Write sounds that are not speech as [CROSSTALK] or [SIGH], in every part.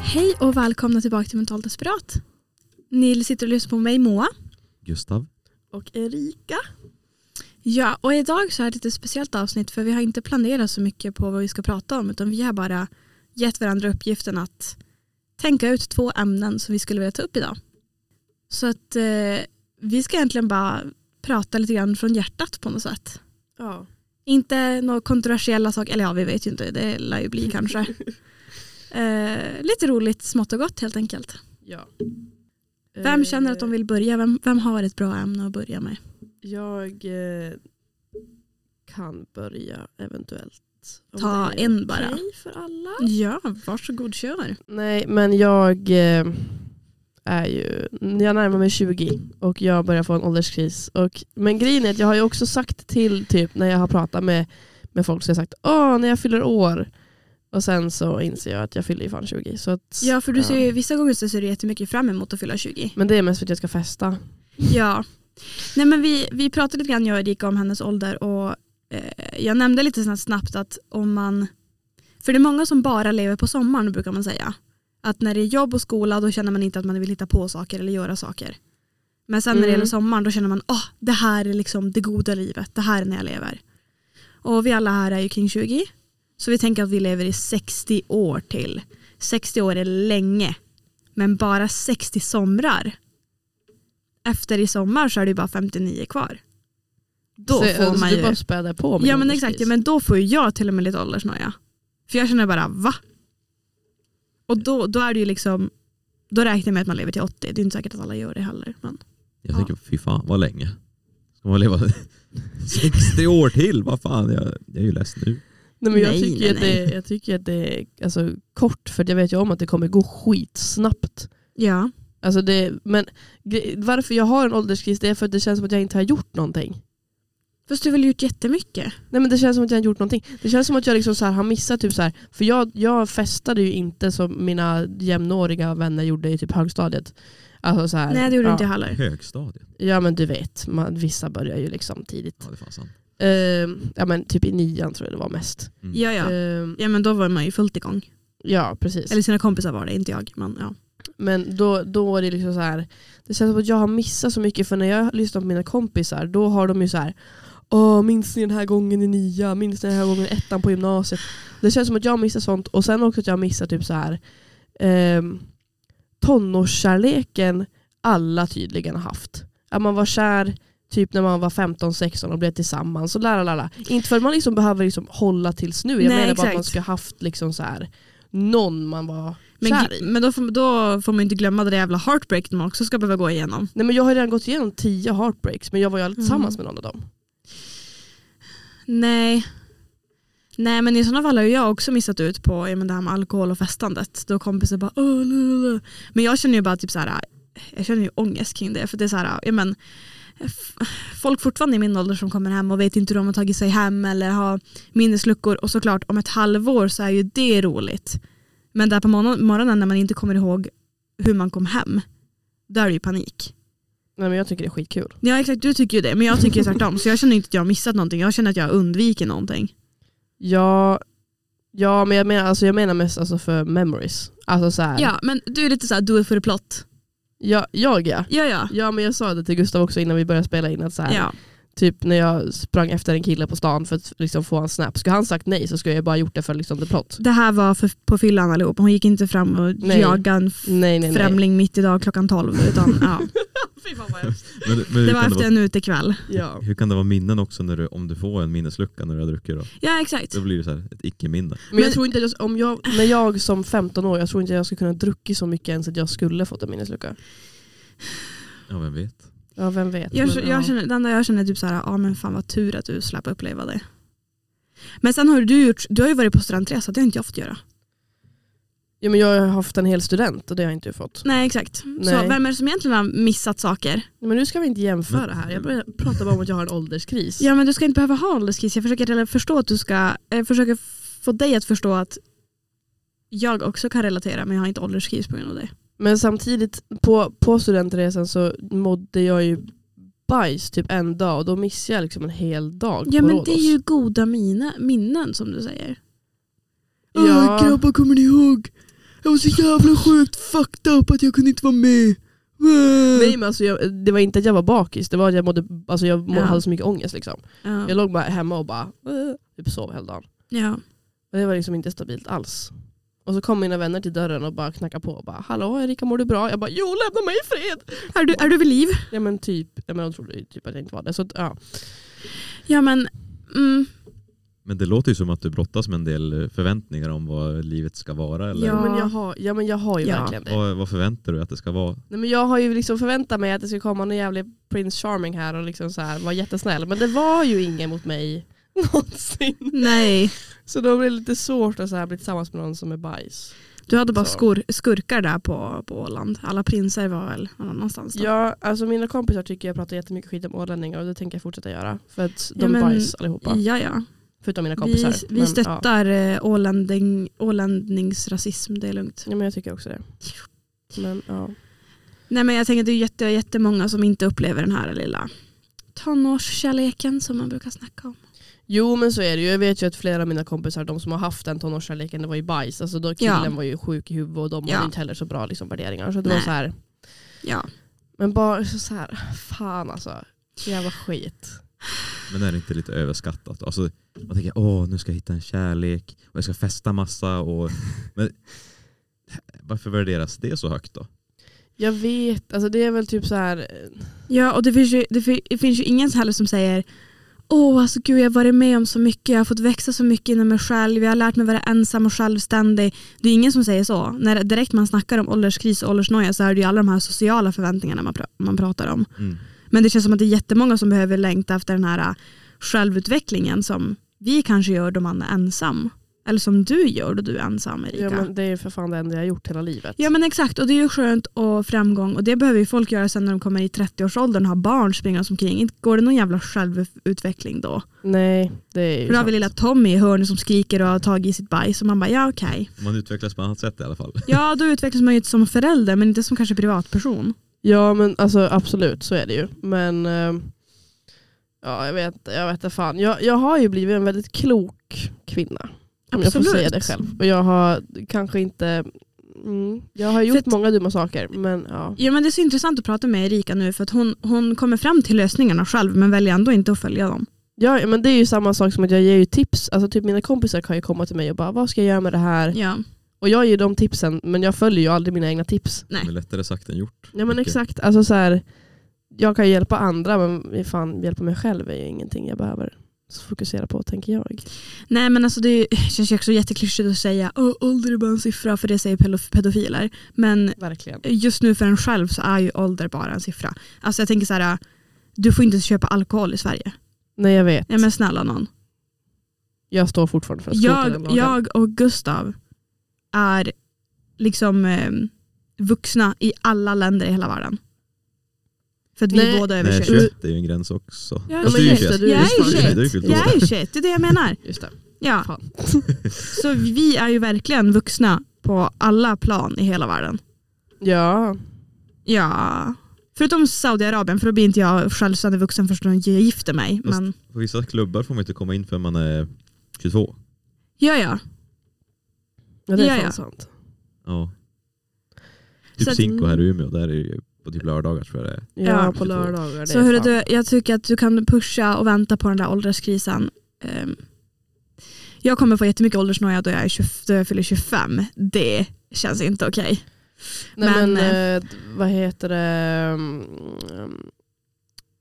Hej och välkomna tillbaka till Mentalt Desperat. Ni sitter och lyssnar på mig, Moa. Gustav. och Erika. Ja, och idag så är det ett lite speciellt avsnitt för vi har inte planerat så mycket på vad vi ska prata om utan vi har bara gett varandra uppgiften att tänka ut två ämnen som vi skulle vilja ta upp idag. Så att eh, vi ska egentligen bara prata lite grann från hjärtat på något sätt. Ja. Inte några kontroversiella saker, eller ja vi vet ju inte, det lär ju bli [LAUGHS] kanske. Eh, lite roligt, smått och gott helt enkelt. ja. Eh, Vem känner att de vill börja? Vem, vem har ett bra ämne att börja med? Jag eh, kan börja eventuellt. Om Ta det är en bara. okej för alla. Ja, varsågod kör. Nej, men jag eh, är ju, jag närmar mig 20 och jag börjar få en ålderskris. Och, men grejen är att jag har ju också sagt till typ när jag har pratat med, med folk så har jag sagt åh när jag fyller år. Och sen så inser jag att jag fyller ju fan 20. Så att, Ja, för du ser ju, vissa gånger så ser du jättemycket fram emot att fylla 20. Men det är mest för att jag ska festa. Ja. Nej men vi, vi pratade lite grann jag och Erika om hennes ålder och eh, jag nämnde lite sånt här snabbt att om man, för det är många som bara lever på sommaren brukar man säga. Att när det är jobb och skola då känner man inte att man vill hitta på saker eller göra saker. Men sen när det Mm. gäller sommaren då känner man åh det här är liksom det goda livet, det här är när jag lever. Och vi alla här är ju kring 20 så vi tänker att vi lever i 60 år till. 60 år är länge men bara 60 somrar efter i sommar så är det ju bara 59 kvar. Då så, får alltså, man du ju... bara späder på min ja men ålderskris. exakt, ja, men då får ju jag till och med lite åldersnoja. För jag känner bara va? Och då, då är det ju liksom, då räknar jag med att man lever till 80. Det är inte säkert att alla gör det heller. Men. Jag Ja. tänker, fy fan vad länge. Ska man leva [LAUGHS] 60 år till? Vad fan, jag, jag är ju less nu. Nej, men jag, Nej, tycker nej, ju att det, jag tycker att det är alltså, kort, för jag vet ju om att det kommer gå skitsnabbt. Ja. Alltså det, men gre- varför jag har en ålderskris det är för att det känns som att jag inte har gjort någonting. Fast du har väl gjort jättemycket? Nej men det känns som att jag inte gjort någonting. Det känns som att jag liksom så här, har missat typ så här, för jag, jag festade ju inte som mina jämnåriga vänner gjorde i typ högstadiet. Alltså så här, Nej det gjorde ja, inte jag heller. Högstadiet. Ja men du vet, man, vissa börjar ju liksom tidigt. Ja, det är fan sant. Ehm, ja men typ i nian tror jag det var mest. Mm. Ja ja. Ehm, Ja men då var man ju fullt igång. ja precis. Eller sina kompisar var det, inte jag. Men ja. Men då, då är det liksom så här. Det känns som att jag har missat så mycket för när jag lyssnar på mina kompisar då har de ju så här. Åh, minns ni den här gången i nia? Minns ni den här gången i ettan på gymnasiet? Det känns som att jag har missat sånt och sen också att jag har missat typ så här. ehm, tonårskärleken alla tydligen har haft. Att man var kär typ när man var 15-16 och blev tillsammans och la la la la. Inte för att man liksom behöver liksom hålla tills nu. Jag Nej, menar bara att man exakt. ska haft liksom så här någon man var Men, kär i. gr- men då, får, då får man ju inte glömma det där jävla heartbreak man också ska behöva gå igenom. Nej men jag har redan gått igenom tio heartbreaks men jag var ju Mm. aldrig tillsammans med någon av dem. Nej. Nej men i sådana fall har ju jag också missat ut på ja, men det här med alkohol och festandet. Då kompisar bara "Åh, la, la, la." Men jag känner ju bara typ så här, jag känner ju ångest kring det. För det är så här, ja, men, f- folk fortfarande i min ålder som kommer hem och vet inte hur de har tagit sig hem eller har minnesluckor. Och såklart om ett halvår så är ju det roligt. Men där på morgon- morgonen när man inte kommer ihåg hur man kom hem, då är det ju panik. Nej men jag tycker det är skitkul. Ja exakt, du tycker ju det. Men jag tycker ju tvärtom. Så jag känner inte att jag har missat någonting. Jag känner att jag undviker någonting. Ja, ja men jag menar, alltså, jag menar mest alltså, för memories. Alltså så här, Ja, men du är lite såhär do it for the plot. ja, jag ja. Ja, ja. Ja men jag sa det till Gustav också innan vi började spela in att så här, ja. typ när jag sprang efter en kille på stan för att liksom, få hans snap, skulle han sagt nej så skulle jag bara gjort det för liksom, the plot. Det här var för, på fyllan allihop. Hon gick inte fram och Nej. jagade en f- Nej nej nej. främling mitt i dag klockan 12. Utan, [LAUGHS] ja. [LAUGHS] Men, men hur, Det var kan det efter vara, en utekväll. Ja. hur kan det vara minnen också när du, om du får en minneslucka när du har druckit? Då, Ja exakt. då blir det så här, ett icke-minne. Men Men- jag tror inte att jag, om jag, när jag som 15 år, jag tror inte jag skulle kunna druckit så mycket ens att jag skulle fått en minneslucka. Ja, vem vet. Ja vem vet. Jag, men, ja. jag känner, det enda jag känner är typ såhär, ja men fan vad tur att du slapp uppleva det. Men sen har du gjort, du har ju varit på studentresa, det har inte jag fått göra. Ja, men jag har haft en hel student och det har jag inte fått. Nej exakt. Så Nej. vem är det som egentligen har missat saker? Men nu ska vi inte jämföra här. Jag börjar- pratar bara om att jag har en ålderskris. Ja men du ska inte behöva ha ålderskris. Jag försöker rela- förstå att du ska, eh, försöker få dig att förstå att jag också kan relatera men jag har inte ålderskris på grund av det. Men samtidigt, på, på studentresan så mådde jag ju bajs typ en dag och då missar jag liksom en hel dag Ja på men Rhodos. det är ju goda mina, minnen som du säger. Ja. "Åh, grabbar kommer ni ihåg? Jag var så jävla sjukt fucked up att jag kunde inte vara med. Äh. Nej men alltså jag, det var inte att jag var bakis, det var att jag, mådde, alltså jag må, Ja. hade så mycket ångest liksom. ja. Jag låg bara hemma och bara eh, typ sov hela dagen. ja. Och det var liksom inte stabilt alls. Och så kom mina vänner till dörren och bara knackade på och bara Hallå Erika mår du bra? Jag bara Jo lämna mig i fred! Är, du, är du vid liv? Ja men typ, ja, men de trodde ju typ att jag inte var det. Så att, ja. Ja men, mm, Men det låter ju som att du brottas med en del förväntningar om vad livet ska vara. Eller? Ja. Men jag har, ja men jag har ju Ja. verkligen det. Vad, vad förväntar du att det ska vara? Nej, men jag har ju liksom förväntat mig att det skulle komma någon jävlig Prince Charming här och liksom så här, vara jättesnäll. Men det var ju ingen mot mig [LAUGHS] någonsin. nej. Så då blir det lite svårt att så här bli tillsammans med någon som är bajs. Du hade bara Så. skur, skurkar där på, på Åland. Alla prinsar var väl någon annanstans då. Ja, alltså mina kompisar tycker jag pratar jättemycket skit om ålänningar och det tänker jag fortsätta göra. För att de Ja, men- är bajs allihopa. ja. ja. Förutom mina Vi, kompisar. vi Men, Ja. stöttar eh, åländing, åländningsrasism, det är lugnt. ja men jag tycker också det. Men ja. Nej men jag tänker att det är jätte, jättemånga som inte upplever den här lilla tonårskärleken som man brukar snacka om. Jo men så är det ju. Jag vet ju att flera av mina kompisar, de som har haft den tonårskärleken, det var ju bajs. Alltså då killen Ja. var ju sjuk i huvudet och de Ja. hade inte heller så bra liksom, värderingar. Så det Nej. var så här, Ja. Men bara så, så här, fan alltså. Jävla skit. Men är det inte lite överskattat? Alltså, man tänker åh nu ska jag hitta en kärlek och jag ska festa massa. [LAUGHS] Och, men, varför värderas det så högt då? Jag vet, alltså det är väl typ så här. Ja, och det finns ju, det fi- det finns ju ingen heller som säger Åh, alltså gud, jag har varit med om så mycket. Jag har fått växa så mycket inom mig själv. Jag har lärt mig vara ensam och självständig. Det är ingen som säger så. När direkt man snackar om ålderskris och åldersnoja så är det ju alla de här sociala förväntningarna man, pra- man pratar om. Mm. Men det känns som att det är jättemånga som behöver längta efter den här äh, självutvecklingen som vi kanske gör då man är ensam. Eller som du gör då du är ensam, Erika. Ja, men det är ju för fan det enda jag har gjort hela livet. Ja men exakt och det är ju skönt och framgång och det behöver ju folk göra sen när de kommer i 30-årsåldern och har barn springa omkring. Inte går det någon jävla självutveckling då? Nej, det är ju För då har vi sant. lilla Tommy i hörnet som skriker och har tagit i sitt bajs och man bara ja okej. Man utvecklas på annat sätt i alla fall. Ja då utvecklas man ju som förälder men inte som kanske privatperson. Ja men alltså absolut så är det ju. Men eh, ja, jag vet jag vet inte fan. Jag, jag har ju blivit en väldigt klok kvinna. Om jag får Absolut. säga det själv. Och jag har kanske inte, mm, jag har gjort att- många dumma saker. Men ja. Ja men det är så intressant att prata med Erika nu för att hon, hon kommer fram till lösningarna själv men väljer ändå inte att följa dem. Ja, ja, men det är ju samma sak som att jag ger ju tips. Alltså typ mina kompisar kan ju komma till mig och bara vad ska jag göra med det här? Ja. Och jag ger dem tipsen men jag följer ju aldrig mina egna tips. Nej. Men lättare sagt än gjort. Ja men Mycket. exakt, alltså så här, jag kan ju hjälpa andra men fan, hjälpa mig själv är ju ingenting jag behöver fokusera på tänker jag. Nej men alltså det är ju- känns ju också jätteklyschigt att säga "Åh, ålder är bara en siffra för det säger pedof- pedofiler. Men Verkligen. just nu för en själv så är ju ålder bara en siffra. Alltså jag tänker så här, du får inte köpa alkohol i Sverige. Nej jag vet, Nej men snälla någon. jag står fortfarande för att skrota den Jag, lagen. jag och Gustav är liksom eh, vuxna i alla länder i hela världen. För att vi Nej. är båda är över Nej, 21. 21 är ju en gräns också. Ja, Fast men du är ju just det, 21. du är ju Du är ju 21. fyllt år. Jag är 21, det är det jag menar. Just det. Ja. Fan. Så vi är ju verkligen vuxna på alla plan i hela världen. Ja, Ja. Förutom Saudiarabien, för då blir inte jag självständig vuxen förrän jag gifter mig. Fast- Men, På vissa klubbar får man inte komma in förrän man är 22. ja, ja. ja, det är Ja, fan ja. sant. Ja. Så Typ att- Zinko här i Umeå, där är det ju på typ lördagar tror jag det är. Ja, Ja. på lördagar. det Så är hörru, fan- du, jag tycker att du kan pusha och vänta på den där ålderskrisen. Ehm, jag kommer få jättemycket åldersnoja då jag, är 20, då jag fyller 25. Det känns inte okej. Nej, men, men, eh, d- vad heter det? Mm,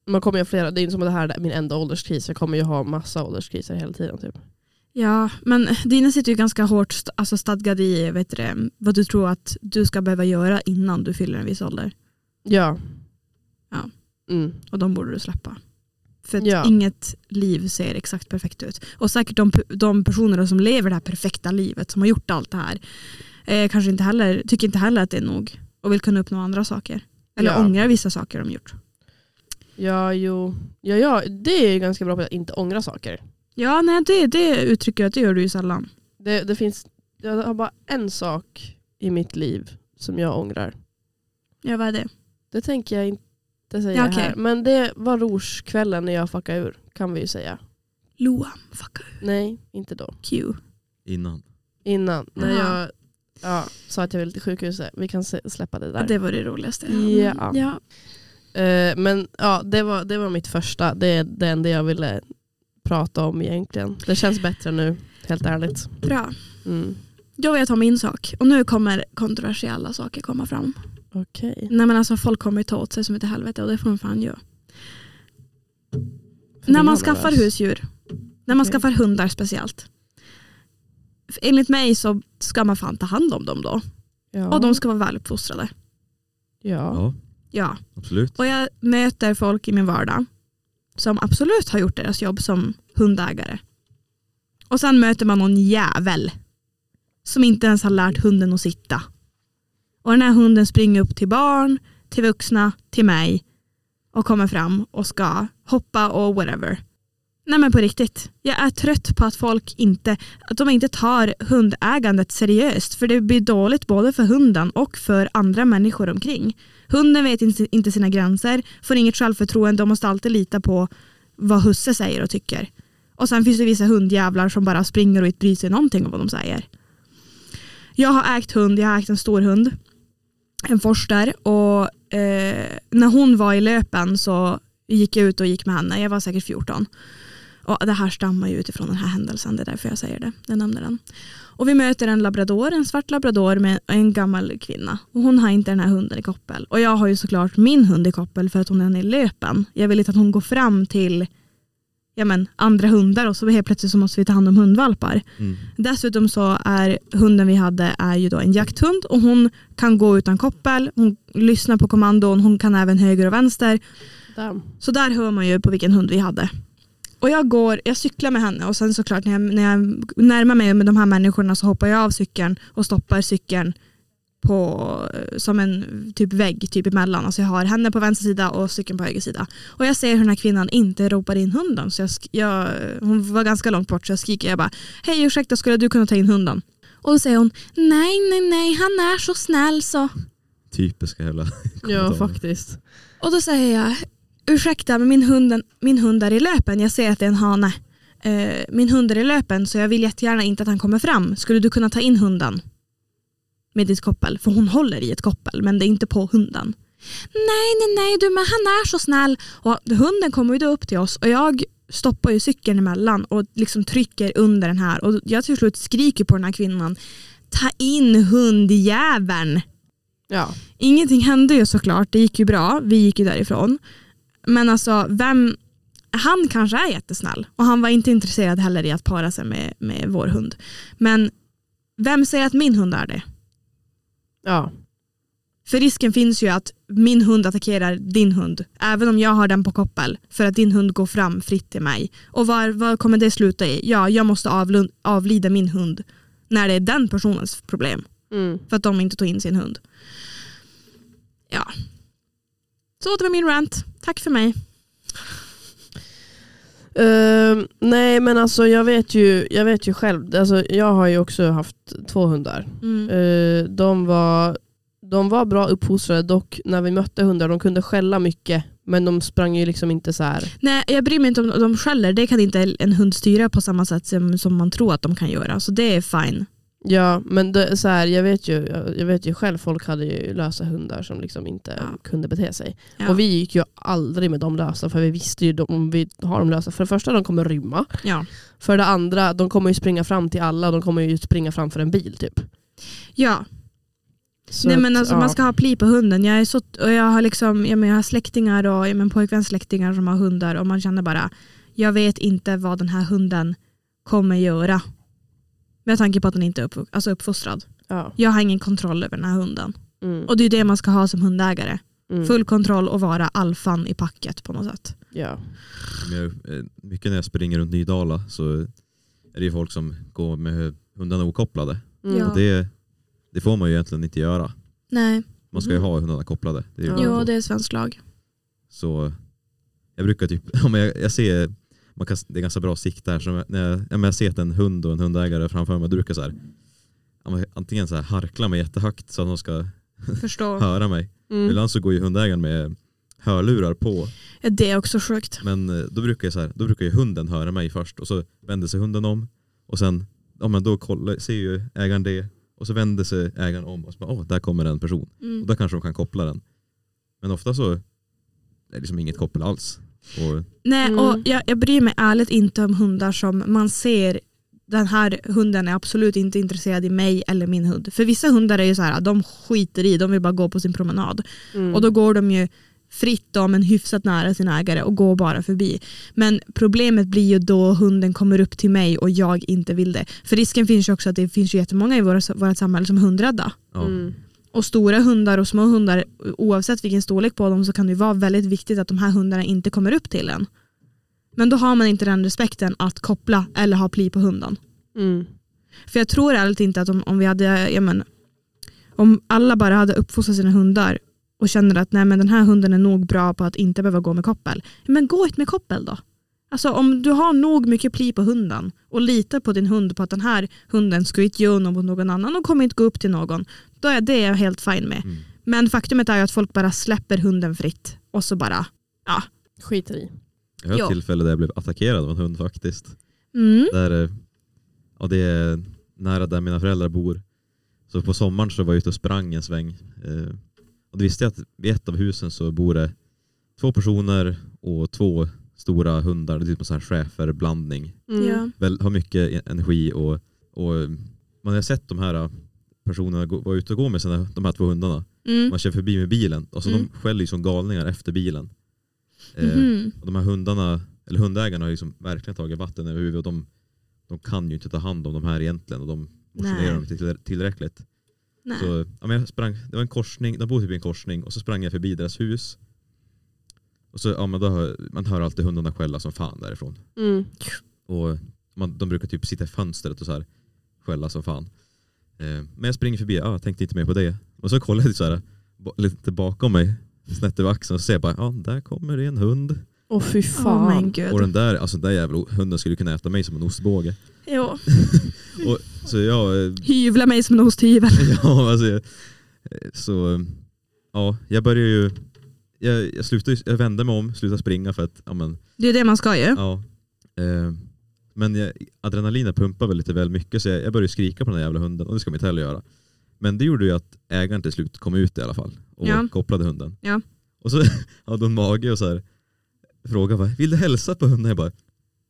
Man kommer ju ha flera, det är inte som att det här är min enda ålderskris. Jag kommer ju ha massa ålderskriser hela tiden. Typ. Ja, men dina sitter ju ganska hårt st- alltså stadgade i vet du, det, vad du tror att du ska behöva göra innan du fyller en viss ålder. Ja. Ja. Mm. Och de borde du släppa. För att Ja. inget liv ser exakt perfekt ut. Och säkert de, de personerna som lever det här perfekta livet, som har gjort allt det här, eh, kanske inte heller, tycker inte heller att det är nog och vill kunna uppnå andra saker. Eller Ja. ångrar vissa saker de gjort. Ja, jo. Ja, ja, det är ju ganska bra på att inte ångra saker. Ja, nej, det, det uttrycker jag att det gör du ju sällan. Det, det finns, jag har bara en sak i mitt liv som jag ångrar. Ja, vad är det? Det tänker jag inte Det säger Ja, jag okej. här. Men det var rorskvällen när jag fuckade ur. Kan vi ju säga. Loam, fuck you. Nej, inte då. Q. Innan. Innan. När Jaha. jag ja, sa att jag ville till sjukhuset. Vi kan se- släppa det där. Det var det roligaste. Mm, Ja. ja. Eh, men ja, det var, det var mitt första. Det är det enda jag ville prata om egentligen. Det känns bättre nu, helt ärligt. Bra. Mm. Då vill jag ta min sak. Och nu kommer kontroversiella saker komma fram. Okej. Nej men alltså folk kommer ju ta åt sig som ett helvete och det får man fan göra. För När vi man har skaffar nervös. husdjur, när man Okej. skaffar hundar speciellt. För Enligt mig så ska man fan ta hand om dem då. Ja. Och de ska vara väluppfostrade. ja. Ja, Ja. absolut. Och jag möter folk i min vardag som absolut har gjort deras jobb som hundägare. Och sen möter man någon jävel som inte ens har lärt hunden att sitta. Och den här hunden springer upp till barn, till vuxna, till mig och kommer fram och ska hoppa och whatever. Nej men på riktigt, jag är trött på att folk inte, att de inte tar hundägandet seriöst för det blir dåligt både för hunden och för andra människor omkring. Hunden vet inte- inte sina gränser, får inget självförtroende och måste alltid lita på vad husse säger och tycker. Och sen finns det vissa hundjävlar som bara springer och inte bryr sig någonting om vad de säger. Jag har ägt hund, jag har ägt en stor hund. En forster och eh, när hon var i löpen så gick jag ut och gick med henne, jag var säkert 14. Och det här stammar ju utifrån den här händelsen, det är därför jag säger det, jag nämner den. Och vi möter en labrador, en svart labrador med en gammal kvinna. Och hon har inte den här hunden i koppel. Och jag har ju såklart min hund i koppel för att hon är i löpen. Jag vill inte att hon går fram till ja men, andra hundar och så helt plötsligt så måste vi ta hand om hundvalpar. Mm. Dessutom så är hunden vi hade är ju då en jakthund och hon kan gå utan koppel, hon lyssnar på kommandon, hon kan även höger och vänster. Damn. Så där hör man ju på vilken hund vi hade. Och jag, går, jag cyklar med henne och sen såklart när jag, när jag närmar mig med de här människorna så hoppar jag av cykeln och stoppar cykeln på, som en typ vägg typ emellan. Alltså jag har henne på vänster sida och cykeln på höger sida. Och jag ser hur den här kvinnan inte ropar in hunden. Så jag, sk- jag, hon var ganska långt bort så jag skriker jag bara hej ursäkta skulle du kunna ta in hunden? Och då säger hon nej nej nej han är så snäll så. Typiska jävla Ja, kommentarer. faktiskt. Och då säger jag, ursäkta men min hund, min hund är i löpen, jag ser att det är en hane. Eh, min hund är i löpen så jag vill jättegärna inte att han kommer fram. Skulle du kunna ta in hunden? Med ditt koppel, för hon håller i ett koppel men det är inte på hunden. Nej, nej, nej, du men han är så snäll. Och hunden kommer ju då upp till oss och jag stoppar ju cykeln emellan och liksom trycker under den här och jag till slut skriker på den här kvinnan. Ta in hundjäveln! Ja. Ingenting hände ju såklart, det gick ju bra, vi gick ju därifrån. Men alltså, vem, han kanske är jättesnäll och han var inte intresserad heller i att para sig med, med vår hund. Men vem säger att min hund är det? Ja. För risken finns ju att min hund attackerar din hund, även om jag har den på koppel, för att din hund går fram fritt till mig. Och var, vad kommer det sluta i? Ja, jag måste avlun- avlida min hund när det är den personens problem. Mm. för att de inte tog in sin hund. Ja. Så det var min rant. Tack för mig. Ehm, nej men alltså jag vet ju, jag vet ju själv, alltså, jag har ju också haft två hundar. Mm. Ehm, de, var, de var bra uppfostrade dock när vi mötte hundar, de kunde skälla mycket men de sprang ju liksom inte så här. Nej, jag bryr mig inte om de skäller. Det kan inte en hund styra på samma sätt som, som man tror att de kan göra. Så det är fine. Ja men det, så här, jag, vet ju, jag jag vet ju själv, folk hade ju lösa hundar som liksom inte Ja. kunde bete sig. Ja. Och vi gick ju aldrig med de lösa för vi visste ju de- om vi har dem lösa, för det första de kommer rymma, ja. för det andra de kommer ju springa fram till alla, de kommer ju springa framför en bil typ. ja. Så Nej, men att, alltså, ja. Man ska ha pli på hunden. Jag, är så, och jag, har liksom, ja, men jag har släktingar och ja, men pojkväns släktingar som har hundar och man känner bara, jag vet inte vad den här hunden kommer göra. Med tanke på att den inte är uppvux- alltså uppfostrad. Ja. Jag har ingen kontroll över den här hunden. Mm. Och det är det man ska ha som hundägare. Mm. Full kontroll och vara alfan i packet på något sätt. Ja. Men jag, eh, mycket när jag springer runt Nydala så är det ju folk som går med hundarna okopplade. Mm. Ja. Och det, det får man ju egentligen inte göra. Nej, Man ska ju Mhm. ha hundarna kopplade. Det är ju Ja. jo det är svensk lag. Så jag brukar typ, [LAUGHS] ja, men jag, jag ser, man kan, det är ganska bra sikt där, så när jag- när jag, ja, men jag ser att en hund och en hundägare framför mig, då brukar jag så här, ja, men antingen så här harkla mig jättehögt så att de ska Förstå. höra mig. Mm. Ibland så går ju hundägaren med hörlurar på. Det är också sjukt. Men eh, då brukar, jag så här, då brukar ju hunden höra mig först och så vänder sig hunden om och sen ja, men då kollar, ser ju ägaren det och så vänder sig ägaren om och så bara, åh, där kommer en person. Och Mm. där kanske de kan koppla den. Men ofta så är det liksom inget koppel alls. Och, Nej, Mm. och jag, jag bryr mig ärligt inte om hundar som man ser den här hunden är absolut inte intresserad i mig eller min hund. För vissa hundar är ju så här, de skiter i, de vill bara gå på sin promenad. Och då går de ju fritt då, men hyfsat nära sin ägare och går bara förbi. Men problemet blir ju då hunden kommer upp till mig och jag inte vill det. För risken finns ju också att det finns ju jättemånga i våra, vårt samhälle som är hundrädda. ja. Mm. Och stora hundar och små hundar, oavsett vilken storlek på dem så kan det ju vara väldigt viktigt att de här hundarna inte kommer upp till en. Men då har man inte den respekten att koppla eller ha pli på hunden. Mm. För jag tror ärligt inte att om, om vi hade, ja men, om alla bara hade uppfostrat sina hundar och känner att nej men den här hunden är nog bra på att inte behöva gå med koppel. Men gå inte med koppel då. Alltså om du har nog mycket pli på hunden och litar på din hund på att den här hunden ska inte göra något mot någon annan och kommer inte gå upp till någon. Då är det jag helt fine med. Mm. Men faktumet är ju att folk bara släpper hunden fritt och så bara, Skiter i. Jag har Ja. ett tillfälle där jag blev attackerad av en hund faktiskt. mm, Där, eh, ja, det är nära där mina föräldrar bor. Så på sommaren så var jag ute och sprang en sväng. Eh, Och då visste jag att vid ett av husen så bor det två personer och två stora hundar. Det är typ en sån här schäferblandning. Mm. ja. Väl, har mycket e- energi och, och man har sett de här eh, personerna gå- vara ute och gå med sina, de här två hundarna. Mm. Man kör förbi med bilen. Alltså Mm. de skäller ju som galningar efter bilen. Eh, Mhm. och de här hundarna, eller hundägarna har ju liksom verkligen tagit vatten över huvudet. Och de, de kan ju inte ta hand om de här egentligen och de Nej. motionerar dem inte till- tillräckligt. Nej. Så, ja, men jag sprang, det var en korsning, de bodde typ i en korsning och så sprang jag förbi deras hus. Och så, ja, men då hör, man hör alltid hundarna skälla som fan därifrån. Mm. Och man, de brukar typ sitta i fönstret och så här skälla som fan. Eh, men jag springer förbi, ja, jag tänkte inte mer på det. Och så kollar jag så här, ba- lite bakom mig, snett över axeln och ser bara, ja där kommer det en hund. Åh fy Oh my fan. Och den god. där, alltså den där jävla hunden skulle kunna äta mig som en ostbåge. Ja. Så jag, eh, [LAUGHS] Hyvla mig som en osthyvel. ja alltså, jag- eh, så, eh, ja jag började ju, jag, jag slutade, ju- jag vände mig om, slutade springa för att, ja men, Det är det man ska ju. ja. Eh, men jag, adrenalinet pumpar väl lite väl mycket så jag, jag började skrika på den där jävla hunden och det ska man inte heller göra. Men det gjorde ju att ägaren till slut kom ut i alla fall och Ja. kopplade hunden. Ja. Och så [LAUGHS] hade hon mage och så här frågade bara, vill du hälsa på hunden? Jag bara,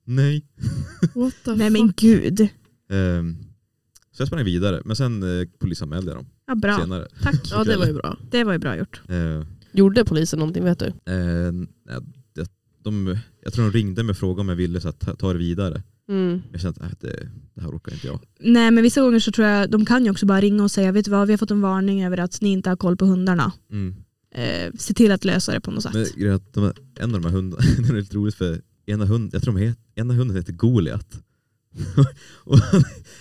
nej. What the Nej men fuck. gud. Ehm, så jag sprang vidare, men sen eh, polisanmälde jag dem Ja, bra. senare. Tack. Ja det var ju bra. Det var ju bra gjort. Eh, Gjorde polisen någonting vet du? eh, nej, det- de, jag tror de ringde mig och frågade om jag ville så här, ta, ta det vidare. Mm. Jag kände att äh, det, det här orkar inte jag. Nej men vissa gånger så tror jag de kan ju också bara ringa och säga vet du vad vi har fått en varning över att ni inte har koll på hundarna. Mm. Eh, se till att lösa det på något sätt. Men grejen är att de, här- en av de här hundarna, [LAUGHS] det är lite roligt för ena hund, jag tror de het, ena hunden heter Goliat. [LAUGHS] och,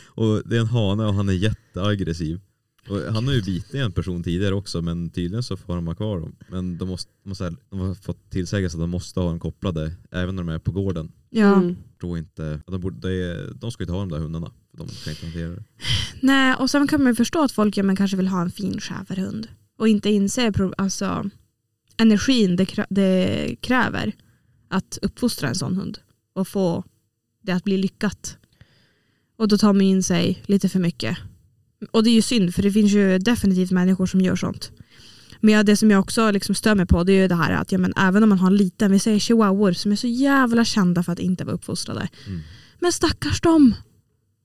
och det är en hane och han är jätteaggressiv. Och han har ju bitit en person tidigare också men tydligen så får de ha kvar dem. Men de, måste, de, måste, de har fått tillsägas att de måste ha dem kopplade även när de är på gården. ja. Mm. tror inte, de, borde, de, de ska ju inte ha de där hundarna. För de kan inte hantera det. Nej och sen kan man ju förstå att folk ja, men kanske vill ha en fin schäferhund och inte inse pro- alltså, energin det, krä- det kräver att uppfostra en sån hund och få det att bli lyckat. Och då tar man ju in sig lite för mycket. Och det är ju synd för det finns ju definitivt människor som gör sånt. Men ja, det som jag också liksom stör mig på det är ju det här att ja, men även om man har en liten, vi säger chihuahuor som är så jävla kända för att inte vara uppfostrade. Mm. Men stackars dem!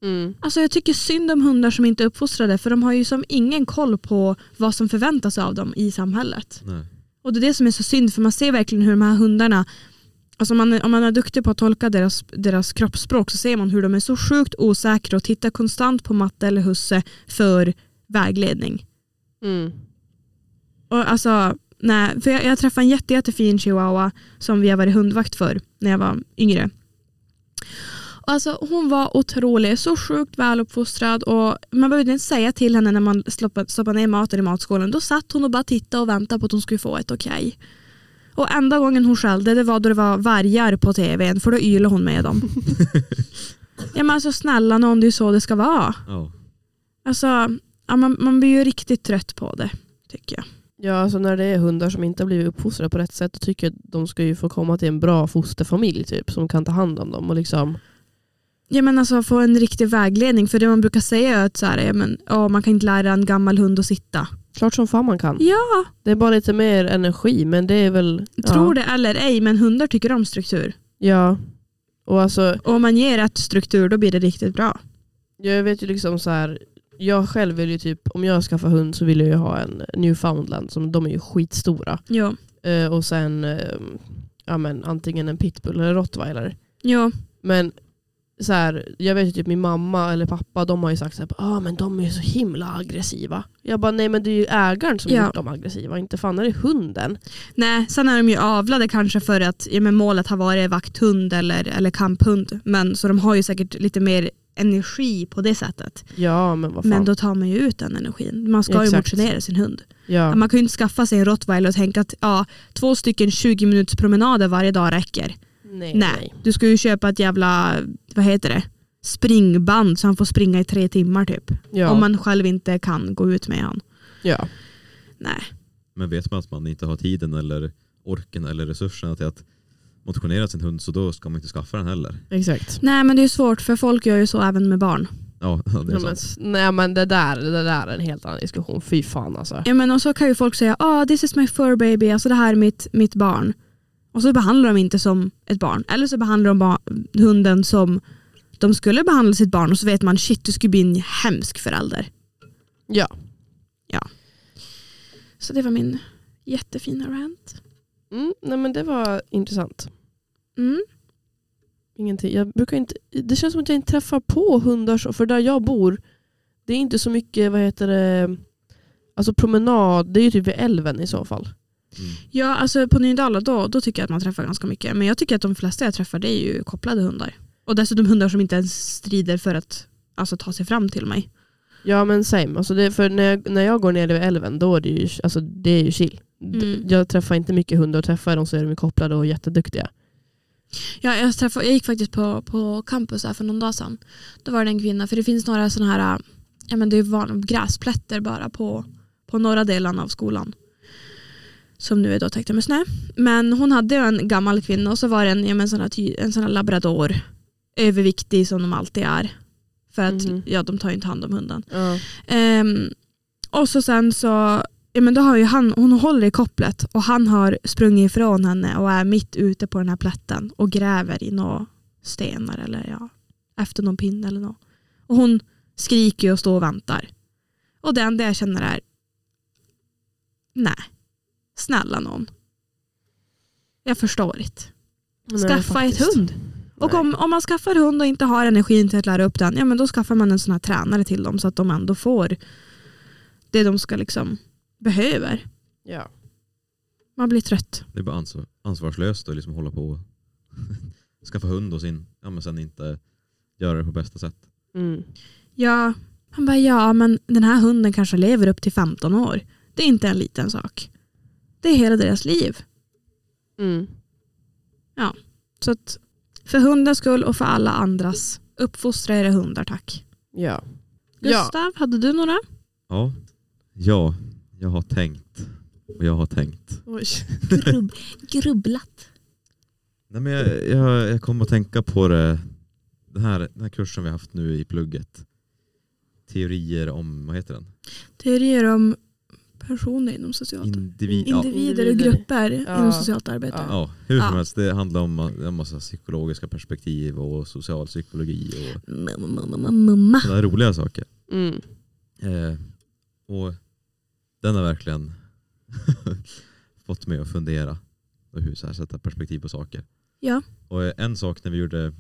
Mm. Alltså jag tycker synd om hundar som inte är uppfostrade för de har ju som ingen koll på vad som förväntas av dem i samhället. Nej. Och det är det som är så synd för man ser verkligen hur de här hundarna, alltså om man, om man är duktig på att tolka deras, deras kroppsspråk så ser man hur de är så sjukt osäkra och tittar konstant på matte eller husse för vägledning. Mm. Och alltså, nej, för jag, jag träffade en jätte, jättefin chihuahua som vi har varit hundvakt för när jag var yngre. Och Alltså, hon var otrolig, så sjukt väluppfostrad och man behövde inte säga till henne när man stoppade, stoppade ner maten i matskålen. Då satt hon och bara tittade och väntade på att hon skulle få ett okej. Och enda gången hon skällde det var då det var vargar på tvn för då ylade hon med dem. ja men alltså snälla någon, det är ju så det ska vara. Ja. Alltså, ja, man, man blir ju riktigt trött på det tycker jag. Ja, alltså när det är hundar som inte har blivit uppfostrade på rätt sätt, då tycker jag att de ska ju få komma till en bra fosterfamilj typ, som kan ta hand om dem. Och liksom, Ja men alltså få en riktig vägledning. För det man brukar säga är att så här, ja, men, ja, man kan inte lära en gammal hund att sitta. klart som fan man kan. Ja, Det är bara lite mer energi, men det är väl... tror ja. det eller ej men hundar tycker om struktur. Ja. Och alltså, Och om man ger rätt struktur då blir det riktigt bra. jag vet ju liksom så här. Jag själv vill ju typ, om jag skaffar hund så vill jag ju ha en newfoundland, som de är ju skitstora. Ja, Eh, och sen eh, ja, men, antingen en pitbull eller en rottweiler. ja. Men så här, jag vet ju typ min mamma eller pappa, de har ju sagt så här, ah, men de är ju så himla aggressiva. Jag bara, nej men det är ju ägaren som Ja. har gjort dem aggressiva, inte fan är det hunden. Nej, sen är de ju avlade kanske för att ja, men målet har varit vakthund eller, eller kamphund. Men, så de har ju säkert lite mer energi på det sättet. Ja men vad fan. Men då tar man ju ut den energin. Man ska ju Exakt. motionera sin hund. ja. Man kan ju inte skaffa sig en rottweiler och tänka att ja, två stycken 20 minuters promenader varje dag räcker. nej, Nej. Du ska ju köpa ett jävla, vad heter det, springband så han får springa i tre timmar typ. Ja. Om man själv inte kan gå ut med han. ja. Nej. Men vet man att man inte har tiden eller orken eller resurserna till att motionera sin hund så då ska man inte skaffa den heller. Exakt. Nej men det är ju svårt för folk gör ju så även med barn. Ja, [LAUGHS] det är Ja, men, sant. s- nej men det där, det där är en helt annan diskussion, fy fan alltså. Ja, men och så kan ju folk säga ah this is my fur baby, alltså det här är mitt, mitt barn. Och så behandlar de inte som ett barn. Eller så behandlar de ba- hunden som de skulle behandla sitt barn och så vet man shit du skulle bli en hemsk förälder. Ja. Så det var min jättefina rant. Mm, nej men det var intressant. Mm. Ingenting. Jag brukar inte, det känns som att jag inte träffar på hundar, så, för där jag bor, det är inte så mycket, vad heter det, alltså promenad, det är ju typ vid älven i så fall. Mm. Ja alltså på Nydala då, då tycker jag att man träffar ganska mycket. Men jag tycker att de flesta jag träffar det är ju kopplade hundar. Och dessutom hundar som inte ens strider för att alltså, ta sig fram till mig. Ja men same, alltså det, för när jag, när jag går ner vid älven då är det ju, alltså det är ju chill. D- Mm. Jag träffar inte mycket hundar, och träffar jag dem så är de ju kopplade och jätteduktiga. Ja, jag, träffade, jag gick faktiskt på, på campus här för någon dag sedan. Då var det en kvinna, för det finns några sådana här äh, ja, men det är van, gräsplätter bara på, på norra delen av skolan. Som nu är då täckta med snö. Men hon hade ju en gammal kvinna och så var det en, ja, men sån, här ty, en sån här labrador. Överviktig som de alltid är. För att Mhm. ja, de tar ju inte hand om hunden. Ja. Ehm, och så sen så, ja men då har ju han, hon håller i kopplet och han har sprungit ifrån henne och är mitt ute på den här plätten och gräver i några stenar eller ja, efter någon pinne eller något. Och hon skriker ju och står och väntar. Och det enda jag känner är, nej, snälla någon. Jag förstår inte. Skaffa ett hund. Och om, om man skaffar hund och inte har energin till att lära upp den, ja men då skaffar man en sån här tränare till dem så att de ändå får det de ska liksom behöver. Ja. Man blir trött. Det är bara ansvar, ansvarslöst att liksom hålla på och skaffa hund och [LAUGHS] sin, ja men sen inte göra det på bästa sätt. Mm. Ja, han bara ja men den här hunden kanske lever upp till 15 år. Det är inte en liten sak. Det är hela deras liv. Mm. Så att för hundens skull och för alla andras, uppfostra era hundar tack. Ja. Ja. Gustav, hade du några? Ja, ja, jag har tänkt och jag har tänkt. grubblat. Nej, men jag, jag, jag kom att tänka på det, den, här, den här kursen vi har haft nu i plugget. Teorier om, vad heter den? Teorier om personer inom socialt Individ, ja, individer och Individer. grupper Ja. inom socialt arbete. Ja. ja, hur som Ja. helst, det handlar om ma- en massa psykologiska perspektiv och social psykologi och Mamma. sådana roliga saker. Mm. Eh, och den har verkligen [LAUGHS] fått mig att fundera och hur så här, sätta perspektiv på saker. Ja. Och eh, en sak när vi gjorde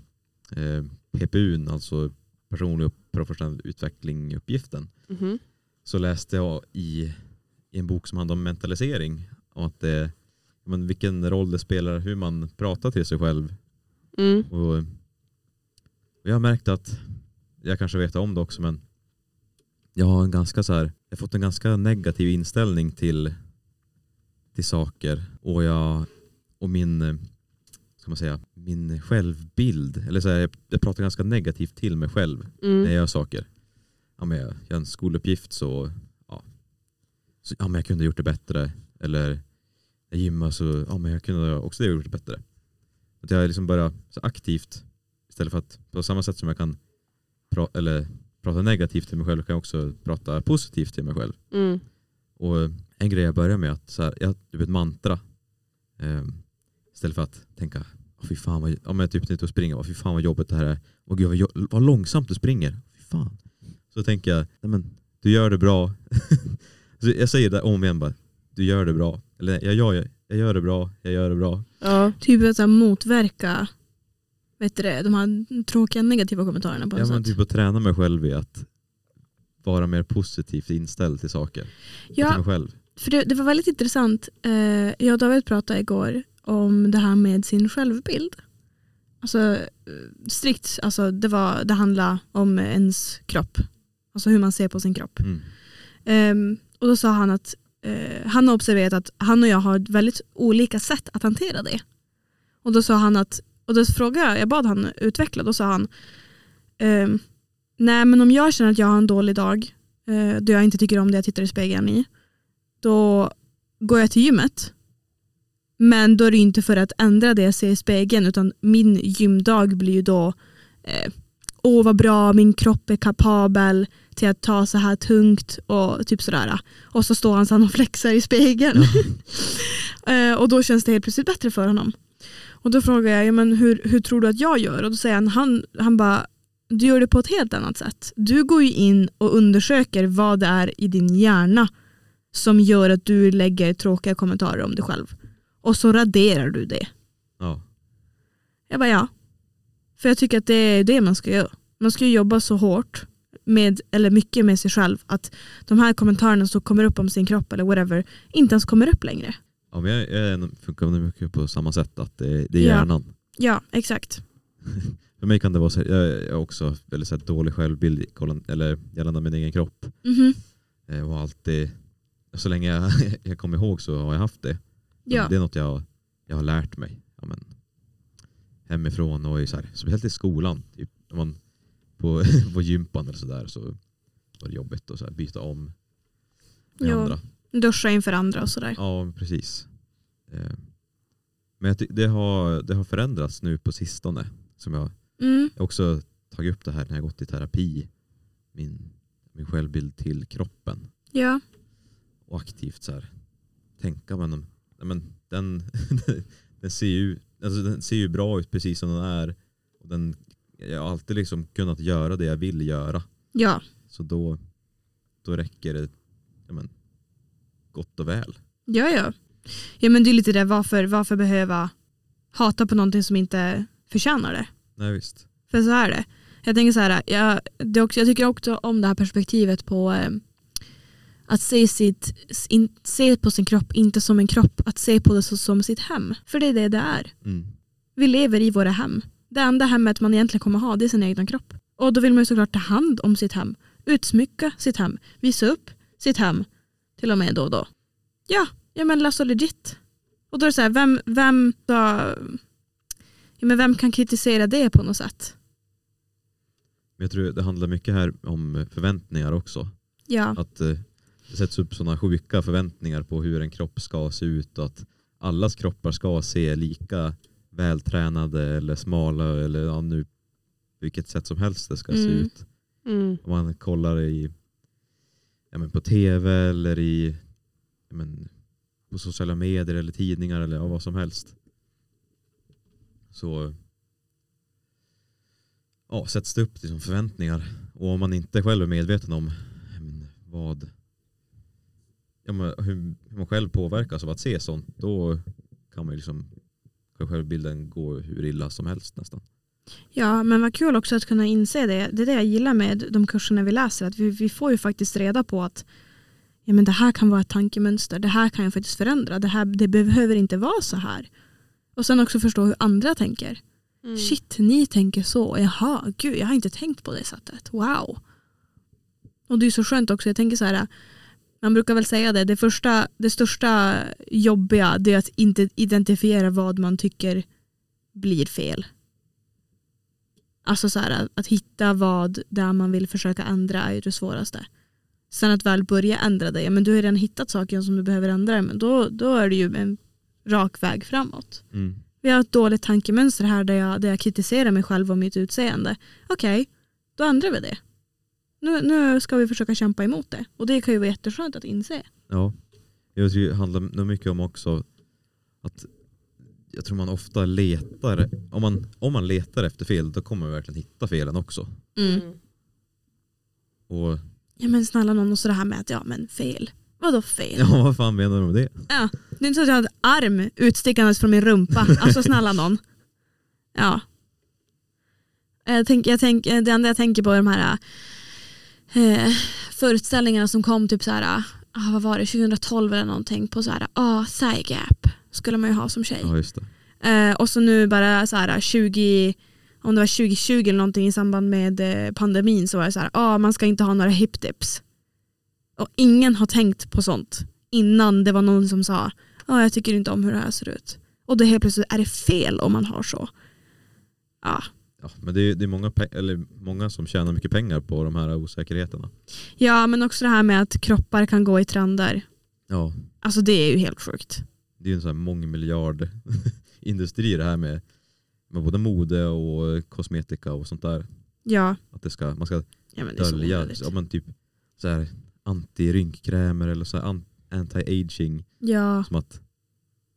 eh, PPU, alltså personlig och professionell utveckling-uppgiften, Mhm. så läste jag i, i en bok som handlar om mentalisering om att det, men vilken roll det spelar hur man pratar till sig själv. Mm. Och, och jag har märkt att, jag kanske vet om det också, men jag har, en ganska så här, jag har fått en ganska negativ inställning till, till saker och, jag, och min, eh, ska man säga, min självbild, eller så här, jag, jag pratar ganska negativt till mig själv Mm. när jag gör saker. Ja, men jag gör en skoluppgift så ja, Så, ja, men jag kunde ha gjort det bättre. Eller jag gymmar så ja, men jag kunde ha också ha gjort det bättre. Att jag liksom börjar så aktivt istället för att på samma sätt som jag kan pra- eller prata negativt till mig själv kan jag också prata positivt till mig själv. Mm. Och eh, en grej jag börjar med är att så här, jag typ ett mantra. Ehm, istället för att tänka, oh, fy fan vad, om jag typ inte och springer, oh, fy fan vad jobbigt det här är. Och gud vad, jo- vad långsamt du springer. Fy fan. Så tänker jag, nej men du gör det bra. [LAUGHS] så jag säger det om igen bara, du gör det bra. Eller nej, jag, jag, jag gör det bra, jag gör det bra. Ja. Typ att så här, motverka vet du det, de här tråkiga negativa kommentarerna på något Ja men sätt. typ att träna mig själv i att vara mer positivt inställd till saker. Till mig Ja, själv. för det, det var väldigt intressant. Eh, jag och David pratade igår om det här med sin självbild. Alltså eh, strikt, alltså det, var, det handlade om ens kropp. Alltså hur man ser på sin kropp. Mm. Ehm, och då sa han att eh, han har observerat att han och jag har ett väldigt olika sätt att hantera det. Och då sa han att, och då frågade jag, jag bad han utveckla, då sa han ehm, nej men om jag känner att jag har en dålig dag eh, då jag inte tycker om det jag tittar i spegeln i då går jag till gymmet men då är det ju inte för att ändra det jag ser i spegeln utan min gymdag blir ju då eh, åh vad bra, min kropp är kapabel till att ta så här tungt och typ sådär. Och så står han så han och flexar i spegeln. [LAUGHS] Eh, och då känns det helt plötsligt bättre för honom. Och då frågar jag, ja, men hur, hur tror du att jag gör? Och då säger han, han, han bara, du gör det på ett helt annat sätt. Du går ju in och undersöker vad det är i din hjärna som gör att du lägger tråkiga kommentarer om dig själv. Och så raderar du det. Ja. Jag bara ja. För jag tycker att det är det man ska göra. Man ska ju jobba så hårt, med, eller mycket med sig själv, att de här kommentarerna som kommer upp om sin kropp eller whatever inte ens kommer upp längre. Ja, men jag, jag är en- funkar nog mycket på samma sätt, att det, det är Ja. hjärnan. Ja, exakt. För mig kan det vara så här, jag jag har också väldigt så här, dålig självbild i- kollan- eller gällande min egen kropp. Mhm. Eh, Och har alltid, så länge jag, [LAUGHS] jag kommer ihåg så har jag haft det. Men Ja. Det är något jag, jag har lärt mig. Ja, men, hemifrån och i, så här, speciellt i skolan. Typ, när man, på, [LAUGHS] på gympan eller sådär så var det jobbigt att så här, byta om med Ja. andra. Duscha inför andra och sådär. Ja, precis. Eh, Men jag ty- det har, det har förändrats nu på sistone. Som jag Mm. jag har också tagit upp det här när jag gått i terapi. Min, min självbild till kroppen. Ja. Och aktivt så här, tänka men, om- nej, men den, [LAUGHS] den, ser ju, alltså, den ser ju bra ut precis som den är. Och den, jag har alltid liksom kunnat göra det jag vill göra. ja, Så då, då räcker det ja, men, gott och väl. ja, ja. Ja men det är lite det, varför, varför behöva hata på någonting som inte förtjänar det? Nej, visst. För så är det. Jag tänker så här, jag, det är också, jag tycker också om det här perspektivet på eh, att se, sitt, in, se på sin kropp, inte som en kropp, att se på det så, som sitt hem. För det är det det är. Mm. Vi lever i våra hem. Det enda hemmet man egentligen kommer ha det är sin egna kropp. Och då vill man ju såklart ta hand om sitt hem, utsmycka sitt hem, visa upp sitt hem, till och med då och då. Ja, ja men alltså legit. Och då är det så här, vem, vem, då, ja, men vem kan kritisera det på något sätt? Men jag tror det handlar mycket här om förväntningar också. Ja. Att eh, det sätts upp sådana sjuka förväntningar på hur en kropp ska se ut och att allas kroppar ska se lika vältränade eller smala eller ja, nu vilket sätt som helst det ska se Mm. ut. Mm. Om man kollar i, ja, men på tv eller i ja, men, på sociala medier eller tidningar eller ja, vad som helst. Så ja, sätts det upp liksom, förväntningar. Och om man inte själv är medveten om ja, men, vad ja, men, hur, hur man själv påverkas av att se sånt då kan man ju liksom kan självbilden gå hur illa som helst nästan. Ja, men vad kul också att kunna inse det. Det är det jag gillar med de kurserna vi läser, att vi, vi får ju faktiskt reda på att ja, men det här kan vara ett tankemönster, det här kan jag faktiskt förändra, det, här, det behöver inte vara så här. Och sen också förstå hur andra tänker. Mm. Shit, ni tänker så, jaha, gud, jag har inte tänkt på det sättet, wow. Och det är så skönt också, jag tänker så här, man brukar väl säga det, det, första, det största jobbiga det är att inte identifiera vad man tycker blir fel. Alltså så här, att hitta vad där man vill försöka ändra är ju det svåraste. Sen att väl börja ändra dig, ja, men du har ju redan hittat saker som du behöver ändra, men då, då är det ju en rak väg framåt. Mm. Vi har ett dåligt tankemönster här där jag, där jag kritiserar mig själv och mitt utseende. Okej, då ändrar vi det. Nu, nu ska vi försöka kämpa emot det. Och det kan ju vara jätteskönt att inse. Ja. Jag tror det handlar nog mycket om också att jag tror man ofta letar, om man, om man letar efter fel då kommer man verkligen hitta felen också. Och [LAUGHS] Ja men snälla någon, och så det här med att ja men fel. Vadå fel? ja, vad fan menar du med det? Det är inte så att jag hade arm utstickandes från min rumpa. Alltså snälla någon. Ja. Jag tänk, jag tänk, det enda jag tänker på är de här eh, föreställningarna som kom typ så här, ah, vad var det, 2012 eller någonting på så här, ah, side gap skulle man ju ha som tjej. Ja just det. Eh, och så nu bara så här 20, om det var 2020 eller någonting i samband med eh, pandemin så var det så här, ah, man ska inte ha några hip dips. Och ingen har tänkt på sånt innan det var någon som sa, ah, jag tycker inte om hur det här ser ut. Och då helt plötsligt är det fel om man har så. Ja, Ja, men det är, det är många, pe- eller många som tjänar mycket pengar på de här osäkerheterna. ja men också det här med att kroppar kan gå i trender. Ja, Alltså det är ju helt sjukt. det är ju en sån här [LAUGHS] mångmiljardindustri det här med, med både mode och kosmetika och sånt där. Ja, Att det ska, man ska ja men det är så dölja onödigt. ja, men typ så här antirynkkrämer eller så här an- anti-aging. Ja, Som att,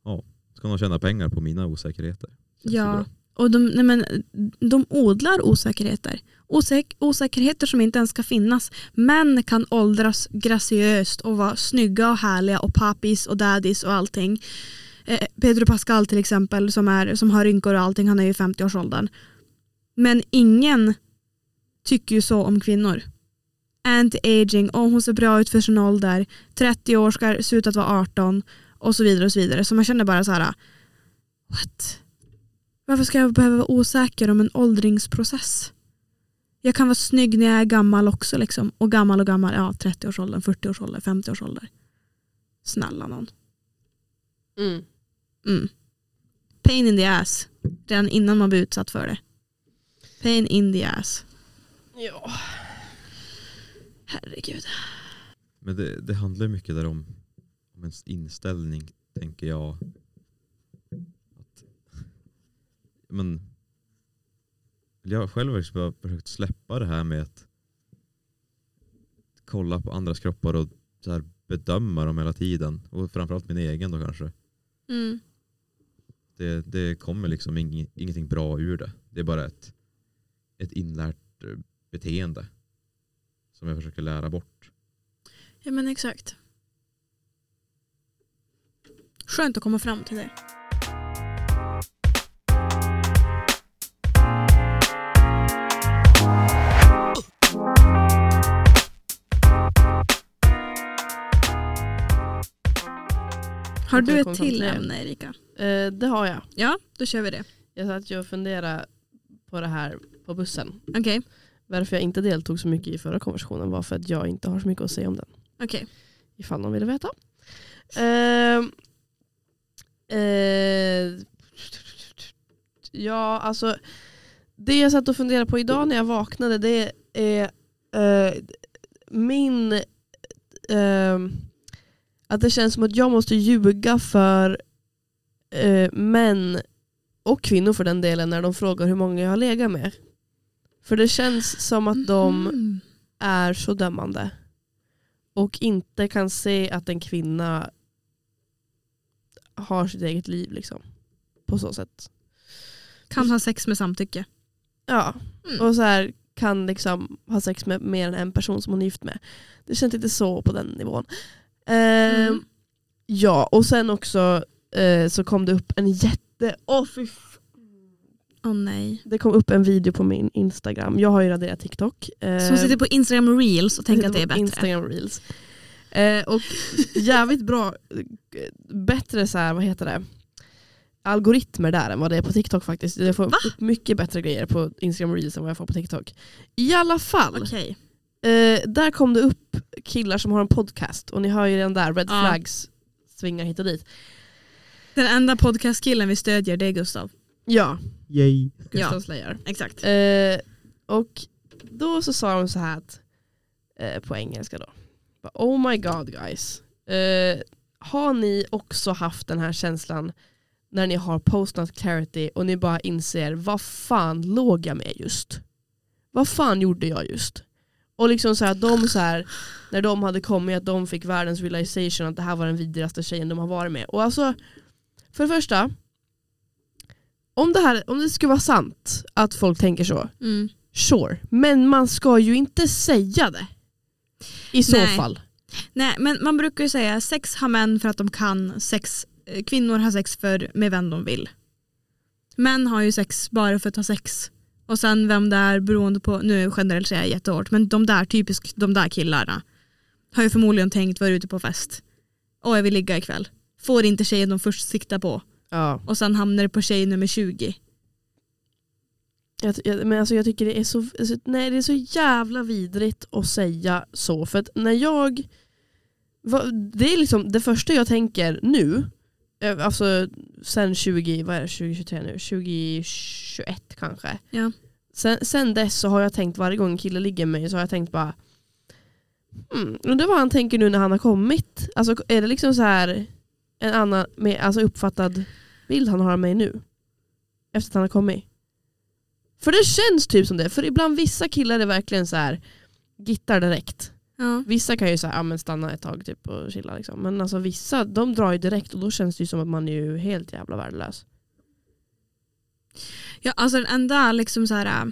ja, ska någon tjäna pengar på mina osäkerheter? Känns ju ja. bra. Och de, nej men, de odlar osäkerheter. Osäk, osäkerheter som inte ens ska finnas. Män kan åldras graciöst och vara snygga och härliga och papis och daddies och allting. Eh, Pedro Pascal till exempel som, är, som har rynkor och allting, han är ju i 50-årsåldern. Men ingen tycker ju så om kvinnor. Anti-aging, om hon ser bra ut för sin ålder, 30 år ska se ut att vara 18 och så vidare och så vidare. Så man känner bara så här, what? Varför ska jag behöva vara osäker om en åldringsprocess? Jag kan vara snygg när jag är gammal också. Liksom. Och gammal och gammal, ja 30-årsåldern, 40-årsåldern, 50-årsåldern. Snälla någon. Mm. Mm. Pain in the ass. Redan innan man blir utsatt för det. Pain in the ass. Ja. Herregud. Men det, det handlar ju mycket där om, om ens inställning, tänker jag. Att, men, jag har själv faktiskt bara försökt släppa det här med att kolla på andras kroppar och så här bedöma dem hela tiden. Och framförallt min egen då kanske. Mm. Det, det kommer liksom ing, ingenting bra ur det. Det är bara ett, ett inlärt eh, beteende som jag försöker lära bort. Ja men exakt. Skönt att komma fram till det. Har Jag du kom ett fram till till det. ämne Erika? Eh, det har jag. Ja, då kör vi det. Jag satt ju och funderade på det här på bussen. Okej. Varför jag inte deltog så mycket i förra konversationen var för att jag inte har så mycket att säga om den. Okej. Ifall någon ville veta. Ehm, eh, ja, alltså. Det jag satt och funderade på idag när jag vaknade det är eh, min... ehm, att det känns som att jag måste ljuga för eh, män och kvinnor för den delen när de frågar hur många jag har legat med. För det känns som att de Mm. är så dömande och inte kan se att en kvinna har sitt eget liv liksom. På så sätt. Kan ha sex med samtycke. Ja, Mm. och så här kan liksom ha sex med mer än en person som hon är gift med. Det känns lite så på den nivån. Ehm, Mm. Ja, och sen också eh, så kom det upp en jätte... Åh fy Åh nej. det kom upp en video på min Instagram. Jag har ju raderat TikTok. Så Ehm, hon sitter på Instagram reels och tänker att det är på bättre. Instagram reels. Eh, och jävligt bra, bättre så här, vad heter det? algoritmer där än vad det är på TikTok faktiskt. Jag får Va? upp mycket bättre grejer på Instagram reels än vad jag får på TikTok. I alla fall, Okej. eh, där kom det upp killar som har en podcast och ni hör ju den där, Red Ja. Flags svingar hit och dit. Den enda podcastkillen vi stödjer det är Gustav. Ja, Yay. Gustav Slayer. Exakt. Eh, och då så sa de så här att, eh, på engelska då. Bara, Oh my god guys. Eh, har ni också haft den här känslan när ni har postnat clarity och ni bara inser vad fan låg jag med just? Vad fan gjorde jag just? Och liksom så här, de så här, när de hade kommit att de fick världens realization att det här var den vidrigaste tjejen de har varit med. Och alltså, för det första, om det, här, om det skulle vara sant att folk tänker så, Mm. sure. Men man ska ju inte säga det. I så Nej. fall. Nej men man brukar ju säga sex har män för att de kan, sex, eh, kvinnor har sex för med vem de vill. Män har ju sex bara för att ha sex. Och sen vem det är beroende på, nu generaliserar jag jättehårt men de där typiskt de där killarna har ju förmodligen tänkt vara ute på fest. Åh jag vill ligga ikväll. Får inte tjejen de först siktar på Ja. och sen hamnar det på tjej nummer 20. Jag, ty- jag, men alltså jag tycker det är, så, alltså, nej, det är så jävla vidrigt att säga så. För att när jag... va- Det är liksom det första jag tänker nu, eh, alltså sen 20, vad är det, 2023 nu, 2021 kanske. Ja. Sen, sen dess så har jag tänkt varje gång en kille ligger med mig så har jag tänkt bara hmm, undrar vad han tänker nu när han har kommit. Alltså är det liksom så här en annan med, alltså uppfattad bild han har av mig nu? Efter att han har kommit. För det känns typ som det. För ibland vissa killar är verkligen så här gittar direkt. Ja. Vissa kan ju säga ja, men stanna ett tag typ och chilla liksom. Men alltså vissa de drar ju direkt och då känns det ju som att man är ju helt jävla värdelös. Ja, alltså den enda liksom så här, äh,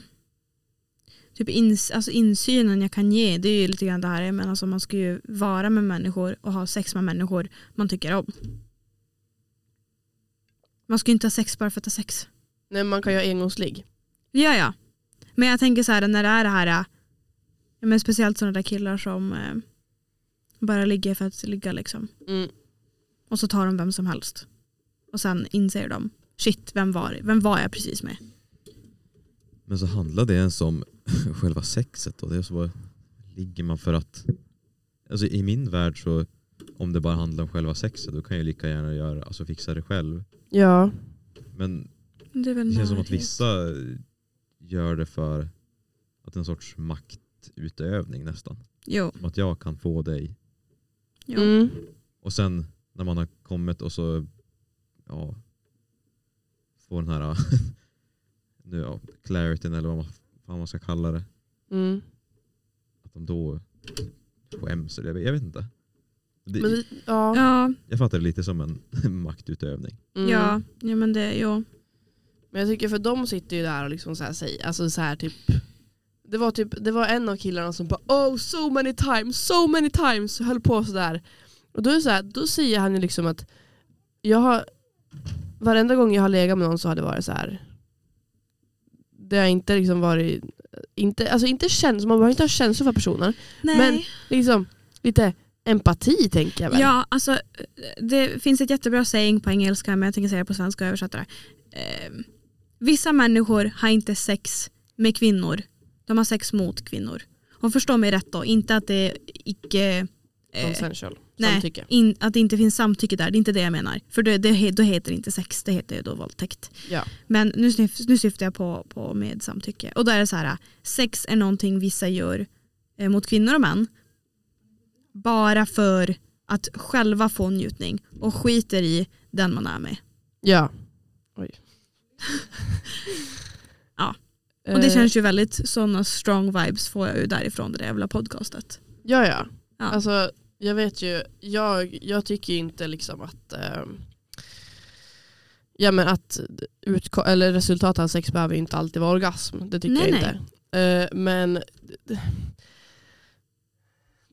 typ ins, alltså insynen jag kan ge det är ju lite grann det här jag menar, alltså man ska ju vara med människor och ha sex med människor man tycker om. Man ska ju inte ha sex bara för att ha sex. Nej man kan ju ha engångsligg. Ja, ja. Men jag tänker så här när det är det här, äh, ja, men speciellt sådana där killar som äh, bara ligger för att ligga liksom. Mm. Och så tar de vem som helst. Och sen inser de, shit vem var, vem var jag precis med? Men så handlar det ens om [LAUGHS] själva sexet då? Det är så bara, ligger man för att... Alltså i min värld så, om det bara handlar om själva sexet då kan jag lika gärna göra, alltså fixa det själv. Ja. Men Det, är väl det känns som att närhet. vissa gör det för att det är en sorts maktutövning nästan. Jo, Som att jag kan få dig. jo. Mm. Och sen när man har kommit och så, ja, får den här, [LAUGHS] nu ja, clarityn eller vad man, vad man ska kalla det. Mm. Att de då skäms eller jag vet, jag vet inte. Det, Men, ja. Ja, Jag fattar det lite som en [LAUGHS] maktutövning. Mm. ja, ja men det, jo. Men jag tycker för de sitter ju där och liksom så här säger, alltså så här typ det var, typ, det var en av killarna som bara oh so many times, so many times höll på sådär. Och då, är det så här, då säger han ju liksom att jag har, varenda gång jag har legat med någon så har det varit så här. Det har inte liksom varit, inte, alltså inte känns, man behöver inte ha känslor för personen. Nej. Men- Liksom lite empati tänker jag väl. ja, alltså det finns ett jättebra saying på engelska men jag tänker säga det på svenska och översätta det. Eh, vissa människor har inte sex med kvinnor. De har sex mot kvinnor. Och förstå mig rätt då, inte att det är icke... eh, Consensual, nej. samtycke. in, att det inte finns samtycke där, det är inte det jag menar. För det, det, he- då heter det inte sex, det heter ju då våldtäkt. Ja. Men nu, snyf- nu syftar jag på, på med samtycke. Och då är det så här, sex är någonting vissa gör eh, mot kvinnor och män. Bara för att själva få njutning och skiter i den man är med. Ja. Oj. [LAUGHS] Ja. Och det Eh, känns ju väldigt, sådana strong vibes får jag ju därifrån det där jävla podcastet. Ja, ja. Ja. Alltså, jag vet ju, jag, jag tycker ju inte liksom att, ehm, ja, men att utko- eller resultatet av sex behöver ju inte alltid vara orgasm. Det tycker Nej, jag inte. Eh, men det,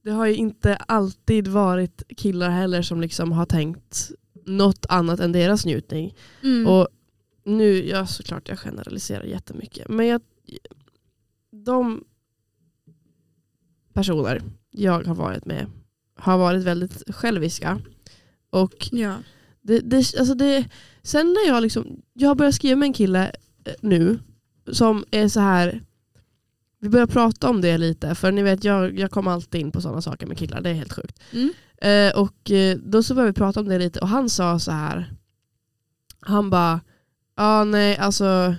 det har ju inte alltid varit killar heller som liksom har tänkt något annat än deras njutning. Mm. Och nu, ja såklart jag generaliserar jättemycket. Men jag, de personer jag har varit med har varit väldigt själviska. Och ja. det, det, alltså det, sen när jag liksom, jag har börjat skriva med en kille eh, nu som är så här vi börjar prata om det lite, för ni vet jag, jag kommer alltid in på sådana saker med killar, det är helt sjukt. Mm. Eh, och eh, då så började vi prata om det lite och han sa så här. Han bara, ja nej alltså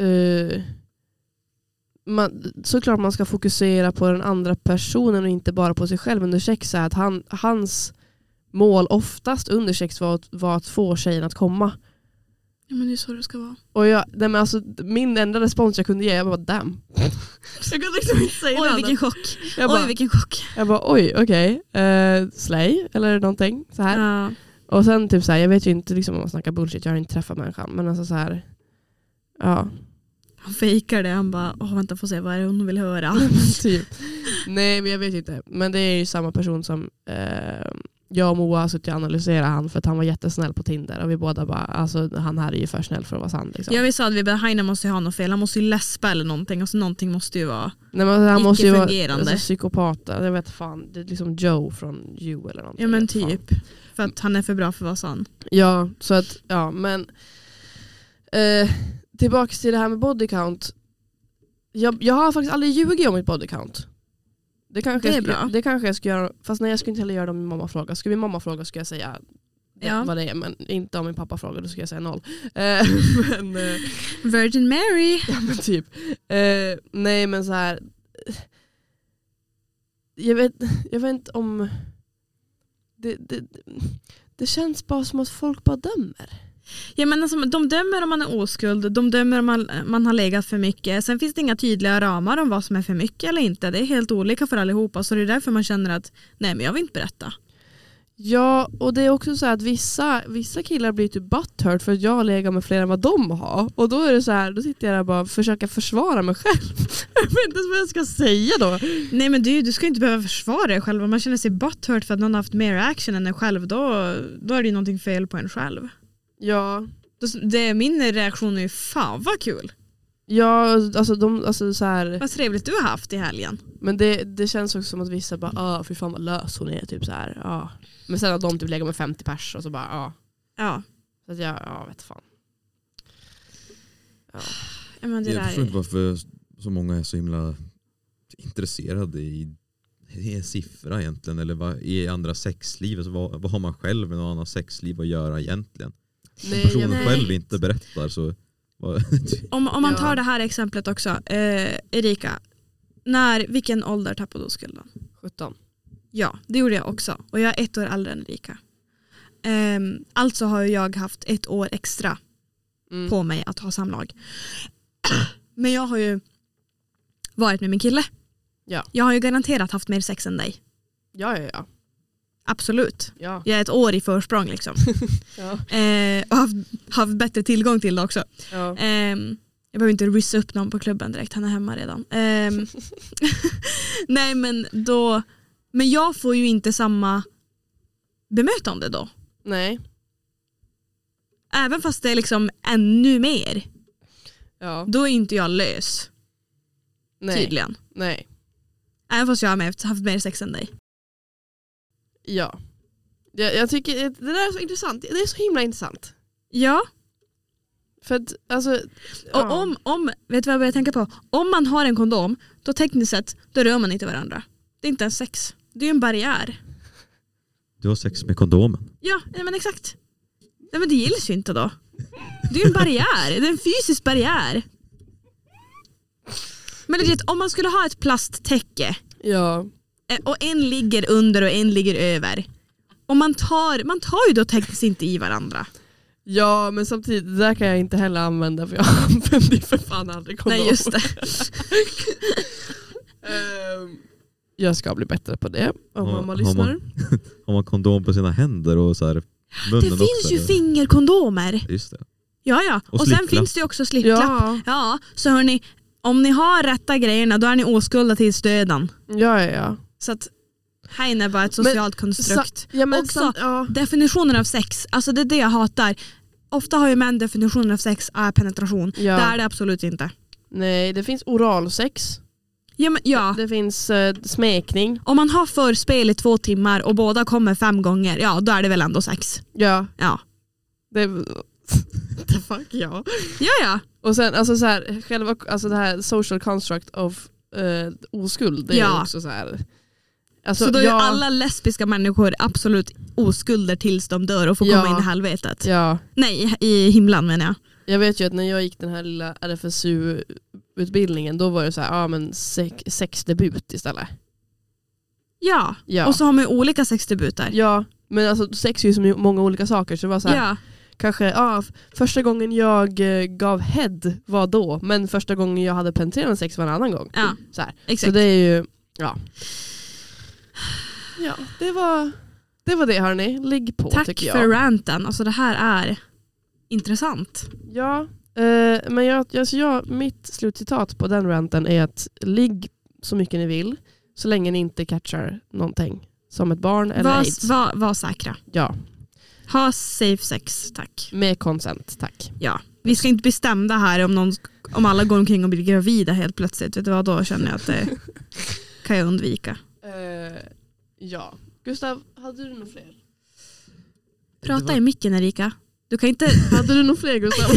eh, man, såklart man ska fokusera på den andra personen och inte bara på sig själv under sex. Så här att han, hans mål oftast under sex var att, var att få tjejen att komma. Ja, men det är så det ska [LAUGHS] vara. Och jag, nej men alltså, min enda respons jag kunde ge, jag bara damn. Jag kunde liksom inte säga Oj, något vilken chock. Jag bara, Oj, vilken chock. jag bara oj okej, eh, slay eller någonting. Så här. Ja. Och sen typ så här, jag vet ju inte liksom, om man snackar bullshit, jag har inte träffat människan. Men alltså så här, ja. [LAUGHS] Han fejkar det. Han bara, åh vänta får se vad är det hon vill höra. typ. Nej men jag vet inte. Men det är ju samma person som eh, jag och Moa har suttit och analyserat han för att han var jättesnäll på Tinder. Och vi båda bara, alltså han här är ju för snäll för att vara sann. Liksom. Ja vi sa att vi bara, Heine måste ju ha något fel. Han måste ju läspa eller någonting. Alltså någonting måste ju vara. Nej, men han måste ju vara icke-fungerande. alltså, psykopat. Jag vet fan, det är liksom Joe från You eller någonting. Ja men Jag vet fan. typ. För att han är för bra för att vara sann. Ja, så att, ja men. Eh, tillbaka till det här med body count. Jag, jag har faktiskt aldrig ljugit om mitt body count. Det kanske, Det är jag skulle- bra. det kanske jag skulle göra, fast nej jag skulle inte heller göra det om min mamma frågar. Skulle min mamma fråga skulle jag säga det- Ja. vad det är, men inte om min pappa frågar då skulle jag säga noll. Eh, [LAUGHS] men, eh, Virgin Mary. Ja men typ. Eh, nej men så här. eh, Jag vet, jag vet inte om... Det, det, det känns bara som att folk bara dömer. Ja, men alltså, de dömer om man är oskuld, de dömer om man, man har legat för mycket. Sen finns det inga tydliga ramar om vad som är för mycket eller inte. Det är helt olika för allihopa så det är därför man känner att nej men jag vill inte berätta. Ja och det är också så här att vissa, vissa killar blir typ butthurt för att jag lägger med fler än vad de har. Och då är det så här, då sitter jag där och bara försöker försvara mig själv. [LAUGHS] jag vet inte vad jag ska säga då. Nej men du, du ska ju inte behöva försvara dig själv. Om man känner sig butthurt för att någon har haft mer action än en själv då, då är det ju någonting fel på en själv. Ja, Då- Det, min reaktion är ju fan vad kul. ja alltså, de, alltså så här. Vad trevligt du har haft i helgen. Men det, det känns också som att vissa bara ah, fy fan vad lös hon är. Typ så här, ah. Men sen att de typ lägger med 50 pers och så bara ah. Ja, Så att jag ah, vet fan. ja, men det Jag där förstår inte är... varför så många är så himla intresserade i, i en siffra egentligen eller vad, i andra sexliv. Alltså, vad, vad har man själv med någon annans sexliv att göra egentligen? Om Nej, jag personen vet. själv inte berättar så vad, [LAUGHS] Om, om man Ja. tar det här exemplet också, eh, Erika. När, vilken ålder tappade du oskulden? 17. Ja, det gjorde jag också. Och jag är ett år äldre än Erika. Ehm, alltså har jag haft ett år extra Mm. på mig att ha samlag. [CLEARS THROAT] Men jag har ju varit med min kille. Ja. Jag har ju garanterat haft mer sex än dig. Ja, ja, ja. Absolut. ja. Jag är ett år i försprång [LAUGHS] liksom. ja. Ehm, och haft, haft bättre tillgång till det också. ja. Ehm, jag behöver inte ryssa upp någon på klubben direkt, han är hemma redan. [LAUGHS] Ehm, nej men då, men jag får ju inte samma bemötande då. Nej. Även fast det är liksom ännu mer, Ja. då är inte jag lös Nej. tydligen. Nej. Även fast jag har haft- haft mer sex än dig. Ja. Jag, jag tycker det där är så intressant. Det är så himla intressant. Ja, För att alltså. och ja. om, om, vet du vad jag börjar tänka på? Om man har en kondom, då tekniskt sett, då rör man inte varandra. Det är inte ens sex. Det är ju en barriär. du har sex med kondomen. Ja, nej men exakt. Nej men det gills ju inte då. Det är ju en barriär, det är en fysisk barriär. Men det är det, om man skulle ha ett plasttäcke Ja. eh, och en ligger under och en ligger över. Och man tar, man tar ju då tekniskt inte i varandra. Ja men samtidigt, det där kan jag inte heller använda för jag [LAUGHS] använder ju för fan aldrig kondom. Nej just det. Ehm, Jag ska bli bättre på det om Har- mamma har lyssnar. man- [LAUGHS] Har man kondom på sina händer och så här munnen Det finns också, ju eller? fingerkondomer. Just det. Ja ja, Och och, sen slippklapp. finns det ju också slippklapp. Ja. Ja, ja, så hörni, om ni har rätta grejerna då är ni åskulda tills döden. ja, ja. ja. Så att här är bara ett socialt konstrukt. ja men Också- samt- ja. Definitionen av sex, alltså det är det jag hatar. Ofta har ju män definitionen av sex är penetration. Ja. Det är det absolut inte. Nej, det finns oralsex. Ja, men, ja. Det finns eh, smekning. Om man har förspel i två timmar och båda kommer fem gånger, ja då är det väl ändå sex. Ja. Ja, Det, the fuck ja. ja. ja. Och sen alltså så här, själva alltså det här social construct of eh, oskuld. Det är Ja. också så här. Så, Alltså, då är ja, alla lesbiska människor absolut oskulder tills de dör och får Ja. komma in i helvetet. Ja. Nej, i himlen menar jag. Jag vet ju att när jag gick den här lilla RFSU utbildningen, då var det så här, ja men sex, sexdebut istället. Ja. Ja. och så har man ju olika sexdebuter. ja, men alltså sex är ju så många olika saker så det var så här, Ja. kanske, ja f- första gången jag eh, gav head var då, men första gången jag hade penetrerande sex var en annan gång. Ja, Så, här. så exakt. det är ju, [SIGHS] ja. Ja, det var det, var det hörni. Ligg på Tack tycker jag. för ranten. Alltså det här är intressant. Ja, eh, men jag, jag- så jag, mitt slutcitat på den ranten är att ligg så mycket ni vill så länge ni inte catchar någonting som ett barn eller aids. Var, var, var säkra. Ja, Ha safe sex, tack. med consent, tack. Ja. Vi ska inte bestämma här om, någon, om alla går omkring och blir gravida helt plötsligt. Vet du vad, då känner jag att det kan jag undvika. Eh, ja. Gustav, hade du några fler? Prata Det var- i micken Erika. Du kan [LAUGHS] inte... Hade du några fler Gustav?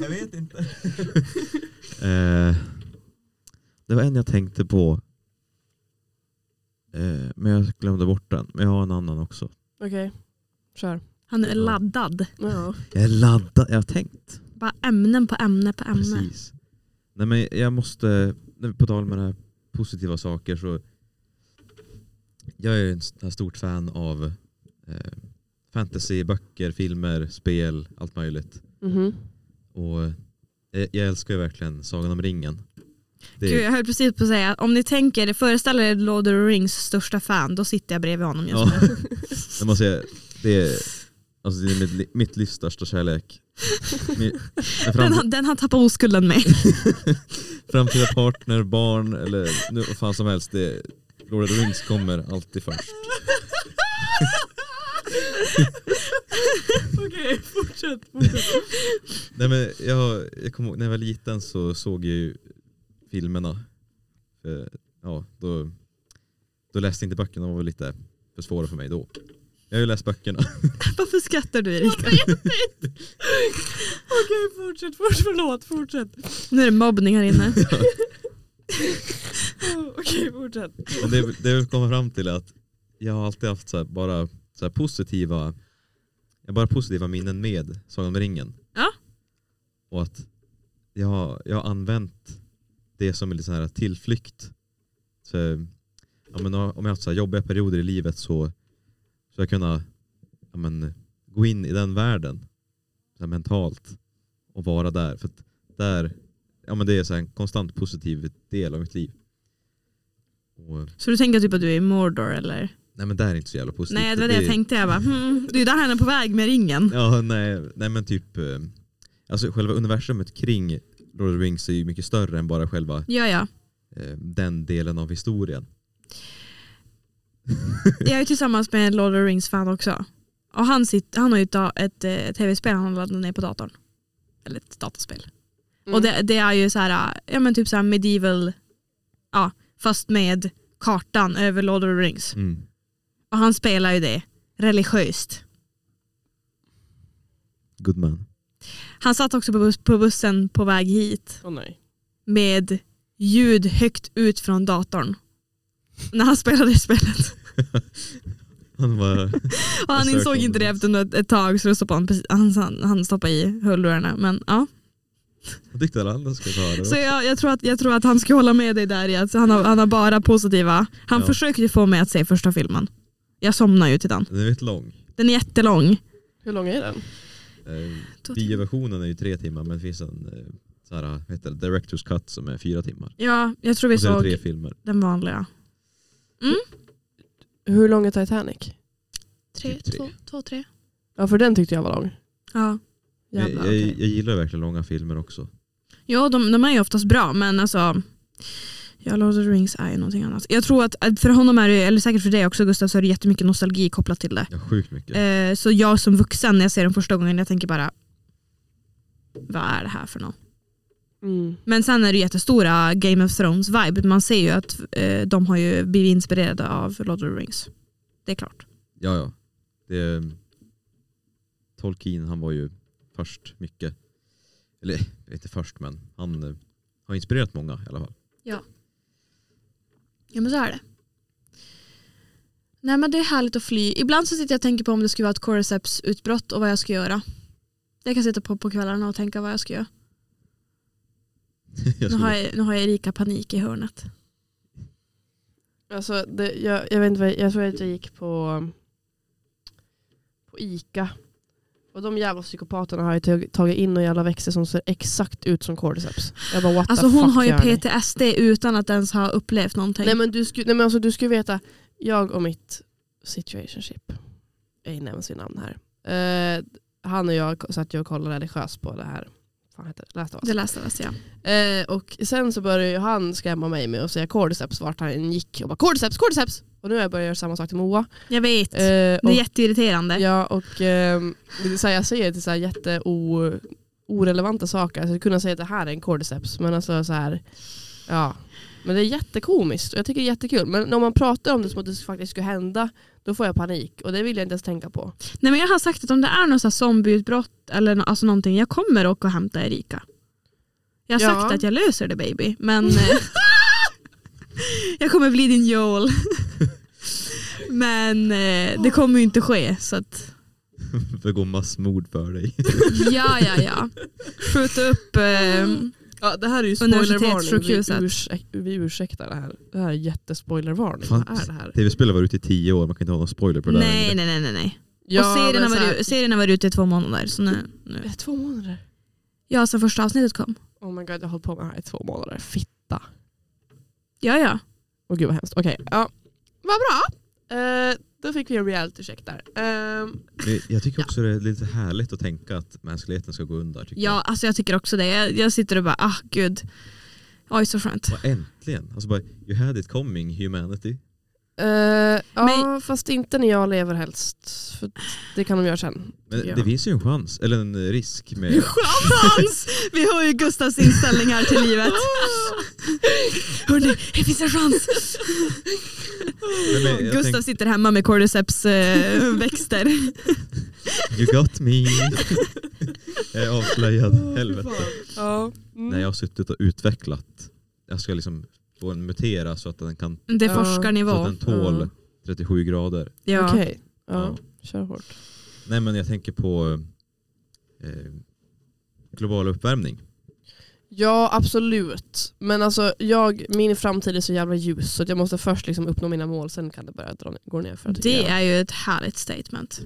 Jag vet inte. [LAUGHS] eh, det var en jag tänkte på. Eh, men jag glömde bort den. Men jag har en annan också. Okej, kör. Han är laddad. Ja. Jag är laddad. Jag har tänkt. Bara ämnen på ämne på ämne. Precis. Nej men jag måste, nej, på tal med det här positiva saker så. Jag är en sån här stort fan av eh, fantasy, böcker, filmer, spel, allt möjligt. Mhm. Och eh, jag älskar ju verkligen Sagan om ringen. Det Gud, jag höll precis på att säga att om ni tänker, föreställer er Lord of the Rings största fan, då sitter jag bredvid honom just Ja. nu. [LAUGHS] Jag måste säga, det är, alltså det är mitt, li- mitt livs största kärlek. [LAUGHS] Min, min Den, framtida, har- den har tappat oskulden med. framtida partner, barn eller nu, vad fan som helst. Det är, Lord of the Rings kommer [LAUGHS] alltid först. Okej, fortsätt. fortsätt. Nej, men jag, jag kommer ihåg, när jag var liten så såg jag ju filmerna. Eh, Ja, då, då läste jag inte böckerna, de var väl lite för svåra för mig då. Jag har ju läst böckerna. Varför skrattar du Erika? Okej, fortsätt. Först, förlåt, fortsätt. Nu är det mobbning här inne. Mm. [LAUGHS] Okej, fortsätt. Men det, det jag vill komma fram till är att jag har alltid haft så här, bara så här positiva jag har bara positiva minnen med Sagan om ringen. Ja. Och att jag har, jag har använt det som en liten så här tillflykt. Så, ja, men, om jag har haft så här jobbiga perioder i livet så, så har jag kunnat ja, men, gå in i den världen så här, mentalt och vara där. För att där, ja, men det är så här en konstant positiv del av mitt liv. Och, Så du tänker typ att du är i Mordor eller? Nej men det här är inte så jävla positivt. Nej det var det jag tänkte. Jag bara, hmm, det är ju där han är på väg med ringen. Ja, nej, nej men typ, eh, alltså själva universumet kring Lord of the Rings är ju mycket större än bara själva Ja ja. eh, den delen av historien. Jag är tillsammans med en Lord of the Rings fan också. Och han, sitter, han har ju ett, da- ett eh, tv-spel han laddar ner på datorn. Eller ett dataspel. Mm. Och det, det är ju så här, ja men typ så här medieval, ja fast med kartan över Lord of the Rings. Mm. Och han spelar ju det religiöst. Good man. Han satt också på, bus, på bussen på väg hit Åh, nej. med ljud högt ut från datorn. När han spelade det spelet. Han var, [LAUGHS] Och han Jag insåg söker inte det om- efter något, ett tag så då stoppade han, precis- han, han, han stoppade i hörlurarna. Men, ja. jag tyckte alla andra skulle ta det. Så jag, jag, tror att, jag tror att han ska hålla med dig där i att han har, han har bara positiva. Han Ja. försökte ju få mig att se första filmen. Jag somnade ju till den. Den är väldigt lång. Den är jättelång. Hur lång är den? Eh, Bioversionen är ju tre timmar men det finns en eh, så här, vad heter det, director's cut som är fyra timmar. Ja, jag tror vi Och så är det såg tre filmer. den vanliga. Mm? Hur lång är Titanic? Tre, Typ tre. två, två, tre. Ja, för den tyckte jag var lång. Ja. Jag, Jävlar, jag, okej. jag gillar verkligen långa filmer också. Ja, de, de är ju oftast bra, men alltså Ja, Lord of the Rings är ju någonting annat. Jag tror att att för honom är det, eller säkert för dig också Gustav, så är det jättemycket nostalgi kopplat till det. Ja, sjukt mycket. Eh, så jag som vuxen, när jag ser den första gången, jag tänker bara vad är det här för något? Mm. Men sen är det jättestora Game of Thrones-vibe. Man ser ju att eh, de har ju blivit inspirerade av Lord of the Rings. Det är klart. Ja, ja. Det, Tolkien han var ju först mycket. Eller jag vet inte först men han eh, har inspirerat många i alla fall. [LAUGHS] Ja men så är det. Nej men det är härligt att fly. Ibland så sitter jag och tänker på om det skulle vara ett cordyceps utbrott och vad jag ska göra. Jag kan sitta på på kvällarna och tänka vad jag ska göra. Jag Nu har, skulle, jag, nu har jag Erika panik i hörnet. Alltså, det, jag, jag, vet inte, vad- jag tror att jag gick på, på Ica. Och de jävla psykopaterna har ju tag- tagit in några jävla växter som ser exakt ut som cordyceps. Jag bara what the Alltså hon fuck har ju gör ni? PTSD utan att ens ha upplevt någonting. Nej men, du sku, nej men alltså du skulle veta, jag och mitt situationship, jag nämns ju namn här. Eh, han och jag satt ju och kollade religiöst på det här, fan heter det, läste Det läste läste jag. Eh, och sen så började ju han skrämma mig med att säga cordyceps vart han än gick och bara cordyceps, cordyceps! Och nu har jag börjat göra samma sak till Moa. Jag vet. Eh, det är och, jätteirriterande. ja, och, ehm, det är så här, jag säger till så här jätte o, orelevanta saker, alltså, jag skulle kunna säga att det här är en cordyceps, men alltså så här, ja. Men det är jättekomiskt och jag tycker det är jättekul. Men om man pratar om det som att det faktiskt skulle hända, då får jag panik och det vill jag inte ens tänka på. Nej, men jag har sagt att om det är något så här zombieutbrott eller nå- alltså någonting, jag kommer åka och hämta Erika. Jag har Ja. sagt att jag löser det baby, men [LAUGHS] eh, jag kommer bli din [LAUGHS] Joel. men eh, det kommer ju inte ske. Så att, begå massmord för dig. [LAUGHS] ja, ja, ja. Skjuta upp. Eh, Ja, det här är ju Universitetssjukhuset. Vi, ursä- vi ursäktar det här. Det här är jättespoilervarning. Fan. Vad är det här? Tv-spel har varit ute i tio år, man kan inte ha någon spoiler på det där nej, längre. nej, nej, nej, nej. Ja, och serien har, men så här- varit, serien har varit ute i två månader. Så nu, nu. Eh, Två månader. Ja, sen första avsnittet kom. Oh my god, jag har hållit på med det här i två månader. Fitta. Ja, ja. Åh gud vad hemskt. Okej, ja. Vad bra. Eh, då fick vi en realitycheck där. Ehm, Men Jag tycker också det är lite härligt att tänka att mänskligheten ska gå under. Tycker Ja, alltså jag tycker också det. Jag, jag sitter och bara, ah gud. Oj, så skönt. jag. Och äntligen! Alltså bara, you had it coming humanity. eh, ja, Men- fast inte när jag lever helst. För det kan de göra [LAUGHS] sen. Men Ja. det finns ju en chans, eller en [LAUGHS] risk med... Chans! Vi har ju Gustavs inställning här till livet. Hörrni, det finns en chans. Nej, men jag Gustav sitter hemma med cordyceps eh, växter. tänkte, you [LAUGHS] got me! [LAUGHS] jag är avslöjad, helvete. Ja. Mm. När jag har suttit och utvecklat, jag ska liksom få den mutera så att den kan Det är Ja. så att forskarnivå. den tål Ja. 37 grader. Ja. Okej, ja. Ja. Kör hårt. Nej men jag tänker på eh, global uppvärmning. Ja, absolut. Men alltså, jag, min framtid är så jävla ljus så att jag måste först liksom uppnå mina mål, sen kan det börja dra, gå ner för Det är ju ett härligt statement.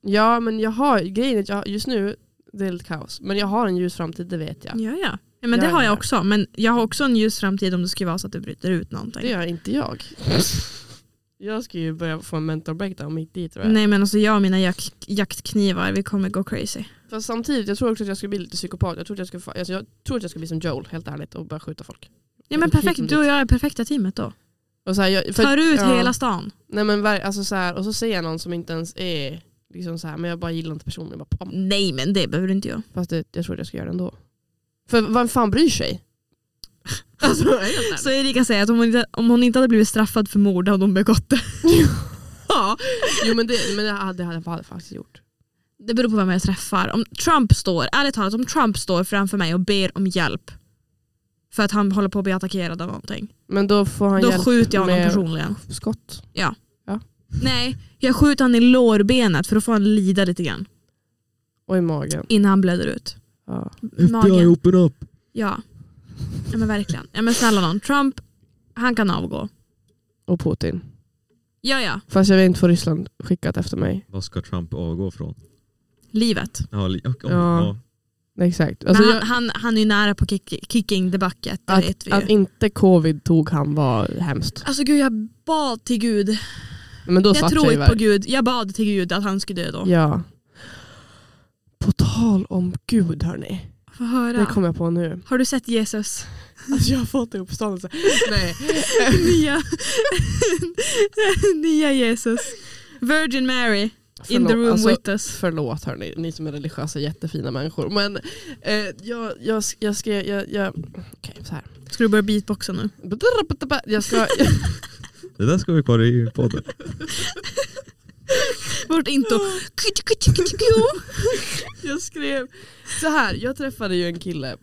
Ja, men jag har, grejen är att jag, just nu, det är lite kaos. Men jag har en ljus framtid, det vet jag. Ja, ja. ja men det Ja, har ja. jag också. Men jag har också en ljus framtid om det skulle vara så att det bryter ut någonting. Det gör inte jag. Jag ska ju börja få en mental breakdown mitt i tror jag. Nej men alltså jag och mina jak- jaktknivar, vi kommer gå crazy. Fast samtidigt, jag tror också att jag ska bli lite psykopat. Jag tror att jag ska, fa- alltså, jag tror att jag ska bli som Joel, helt ärligt, och börja skjuta folk. Ja men Hit och perfekt, dit. du och jag är perfekta teamet då. Och så här, jag, för- Tar ut ja. hela stan. Nej men ver- alltså så här, och så ser jag någon som inte ens är liksom så här, men jag bara gillar inte personen. Jag bara, pam. Nej men det behöver du inte göra. Fast det, jag tror att jag ska göra det ändå. För vem fan bryr sig? Alltså, helt [LAUGHS] ärligt. Så Erika säger att om hon inte, om hon inte hade blivit straffad för mord hade hon begått [LAUGHS] det. ja. jo men det, men det hade det hade jag faktiskt gjort. Det beror på vem jag träffar. Om Trump står, ärligt talat, om Trump står framför mig och ber om hjälp för att han håller på att bli attackerad av någonting. Men då får han Då hjälp skjuter jag honom med personligen. skott. [LAUGHS] Nej, jag skjuter han i lårbenet för att få han lida lite grann Och i magen. innan han blöder ut. Ja. Magen. open up! Ja. ja men verkligen. Ja, men snälla någon, Trump, han kan avgå. Och Putin. Ja ja, Fast jag vill inte få Ryssland skickat efter mig. Vad ska Trump avgå från? livet. Ja, li- och- och- Ja. ja. Exakt. Alltså, men jag, han, han, han är ju nära på kick, kicking the bucket, det vet att, vi ju. att inte covid tog han var hemskt. Alltså gud jag bad till gud. Men då Jag satt tror jag inte på iväg. gud. Jag bad till gud att han skulle dö då. Ja. På tal om Gud hörni. Få höra. Det kom jag [LAUGHS] på nu. Har du sett Jesus? [LAUGHS] Alltså jag har fått en uppståndelse. Nej. Nya, [LAUGHS] Nya Jesus. Virgin Mary in the room alltså, with us. Förlåt hörni, ni som är religiösa jättefina människor. Men eh, jag, jag, jag ska... Jag, jag, Okej, så här. Ska du börja beatboxa nu? [LAUGHS] Jag ska... [LAUGHS] Det där ska vi kvar i podden. Vårt intro. [LAUGHS] Jag skrev så här, jag träffade ju en kille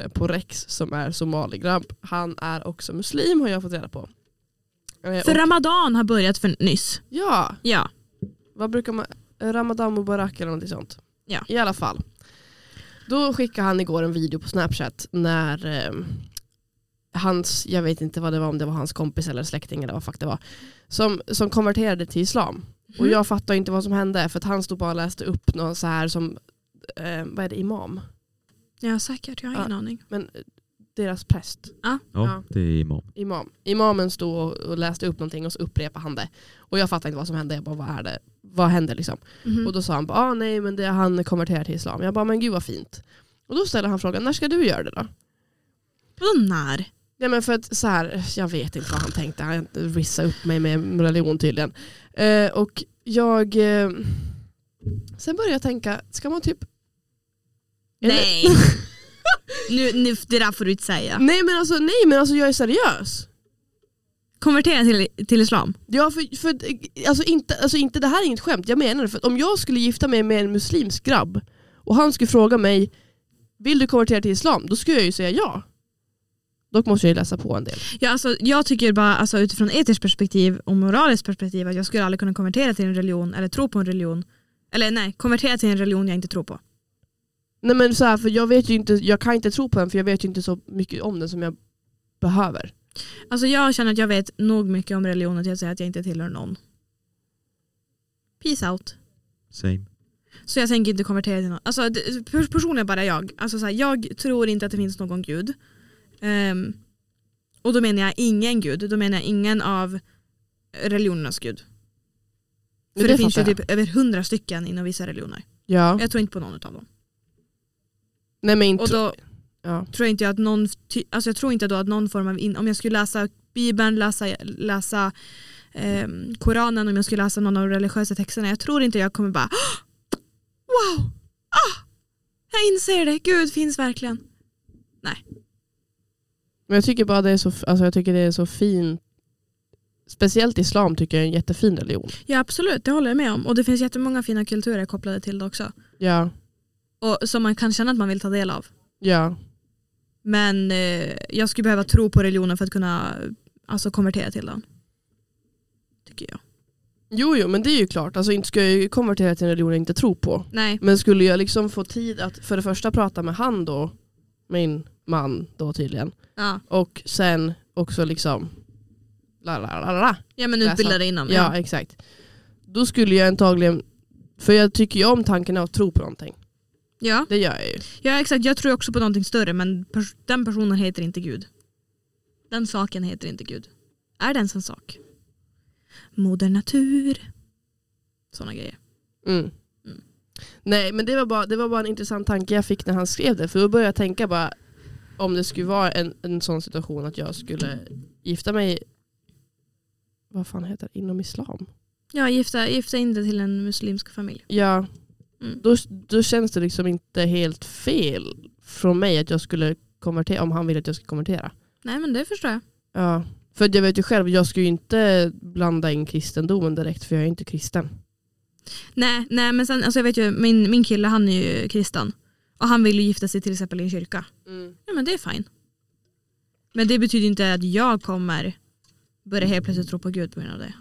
eh, på Rex som är somaligrabb. Han är också muslim har jag fått reda på. Eh, För och, Ramadan har börjat för nyss. ja, Ja. vad brukar man, Ramadan Mubarak eller något sånt. Ja. I alla fall. Då skickade han igår en video på Snapchat när eh, hans, jag vet inte vad det var, om det var hans kompis eller släkting eller vad fuck det var, som, som konverterade till islam. Och jag fattar inte vad som hände för att han stod bara och läste upp någon så här som, eh, vad är det, imam? Ja säkert, jag har ingen aning. Men eh, deras präst. [LAUGHS] Ja. Ja, det är imam. Imam. Imamen stod och, och läste upp någonting och så upprepade han det. Och jag fattade inte vad som hände, jag bara vad är det? Vad hände liksom? Mhm. Och då sa han bara, ah, nej men det, han konverterar till islam. Jag bara, men gud vad fint. Och då ställer han frågan, när ska du göra det då? Vadå när? Nej men för att så här, jag vet inte vad han tänkte, han rissade upp mig med religion tydligen. Eh, och jag, eh, sen började jag tänka, ska man typ... Eller- Nej. nu, nu, det där får du inte säga. nej men alltså, nej men alltså jag är seriös. Konvertera till, till islam. Ja, för, för, alltså, inte, alltså inte, det här är inget skämt, jag menar det. För att om jag skulle gifta mig med en muslimsk grabb och han skulle fråga mig, vill du konvertera till islam? Då skulle jag ju säga ja. Dock måste jag ju läsa på en del. Ja, alltså, jag tycker bara alltså, utifrån etiskt perspektiv och moraliskt perspektiv att jag skulle aldrig kunna konvertera till en religion eller tro på en religion. Eller nej, konvertera till en religion jag inte tror på. Nej men så här, för jag vet ju inte, jag kan inte tro på den för jag vet ju inte så mycket om den som jag behöver. Alltså, jag känner att jag vet nog mycket om religion att jag säger att jag inte tillhör någon. Peace out. Same. [LAUGHS] Så jag tänker inte konvertera till någon. Alltså, det- pers- personligen bara jag. Alltså, så här, jag tror inte att det finns någon gud. Ehm, och då menar jag ingen gud. Då menar jag ingen av religionernas gud. För Men det, finns ju fattar jag. typ över hundra stycken inom vissa religioner. Ja. Jag tror inte på någon av dem. Nej men inte... Och då ja. tror jag inte jag att någon, ty- alltså jag tror inte då att någon form av, in- om jag skulle läsa Bibeln, läsa, läsa ehm, Koranen, om jag skulle läsa någon av de religiösa texterna, jag tror inte jag kommer bara "Ah! wow, ah, jag inser det, Gud finns verkligen. Men jag tycker bara det är så, alltså jag tycker det är så fint. Speciellt islam tycker jag är en jättefin religion. Ja absolut, det håller jag med om. Och det finns jättemånga fina kulturer kopplade till det också. Ja. Och som man kan känna att man vill ta del av. Ja. Men eh, jag skulle behöva tro på religionen för att kunna eh, alltså, konvertera till den. Tycker jag. Jo, jo, men det är ju klart. Alltså inte ska jag ju konvertera till en religion jag inte tror på. Nej, Men skulle jag liksom få tid att för det första prata med han då, min man då tydligen, ja. och sen också liksom la la la la. ja men utbilda dig inom. Ja, exakt. Då skulle jag antagligen, för jag tycker ju om tanken av att tro på någonting. ja. Det gör jag ju. Ja exakt, jag tror också på någonting större men pers- den personen heter inte Gud. Den saken heter inte Gud. Är det ens en sak? Moder natur. Sådana grejer. Mm. Mm. Nej, men det var, bara, det var bara en intressant tanke jag fick när han skrev det. För då började jag tänka bara om det skulle vara en, en sån situation att jag skulle gifta mig vad fan heter det? Inom islam? Ja, gifta, gifta in dig till en muslimsk familj. Ja, Mm. då, då känns det liksom inte helt fel från mig att jag skulle konvertera, om han ville att jag skulle konvertera. Nej men det förstår jag. Ja. För jag vet ju själv, jag skulle ju inte blanda in kristendomen direkt för jag är inte kristen. Nej, nej men sen, alltså jag vet ju, min, min kille han är ju kristen. Och han vill ju gifta sig till exempel i en kyrka. Ja men det är fine. Men det betyder inte att jag kommer börja helt plötsligt tro på Gud på grund av det.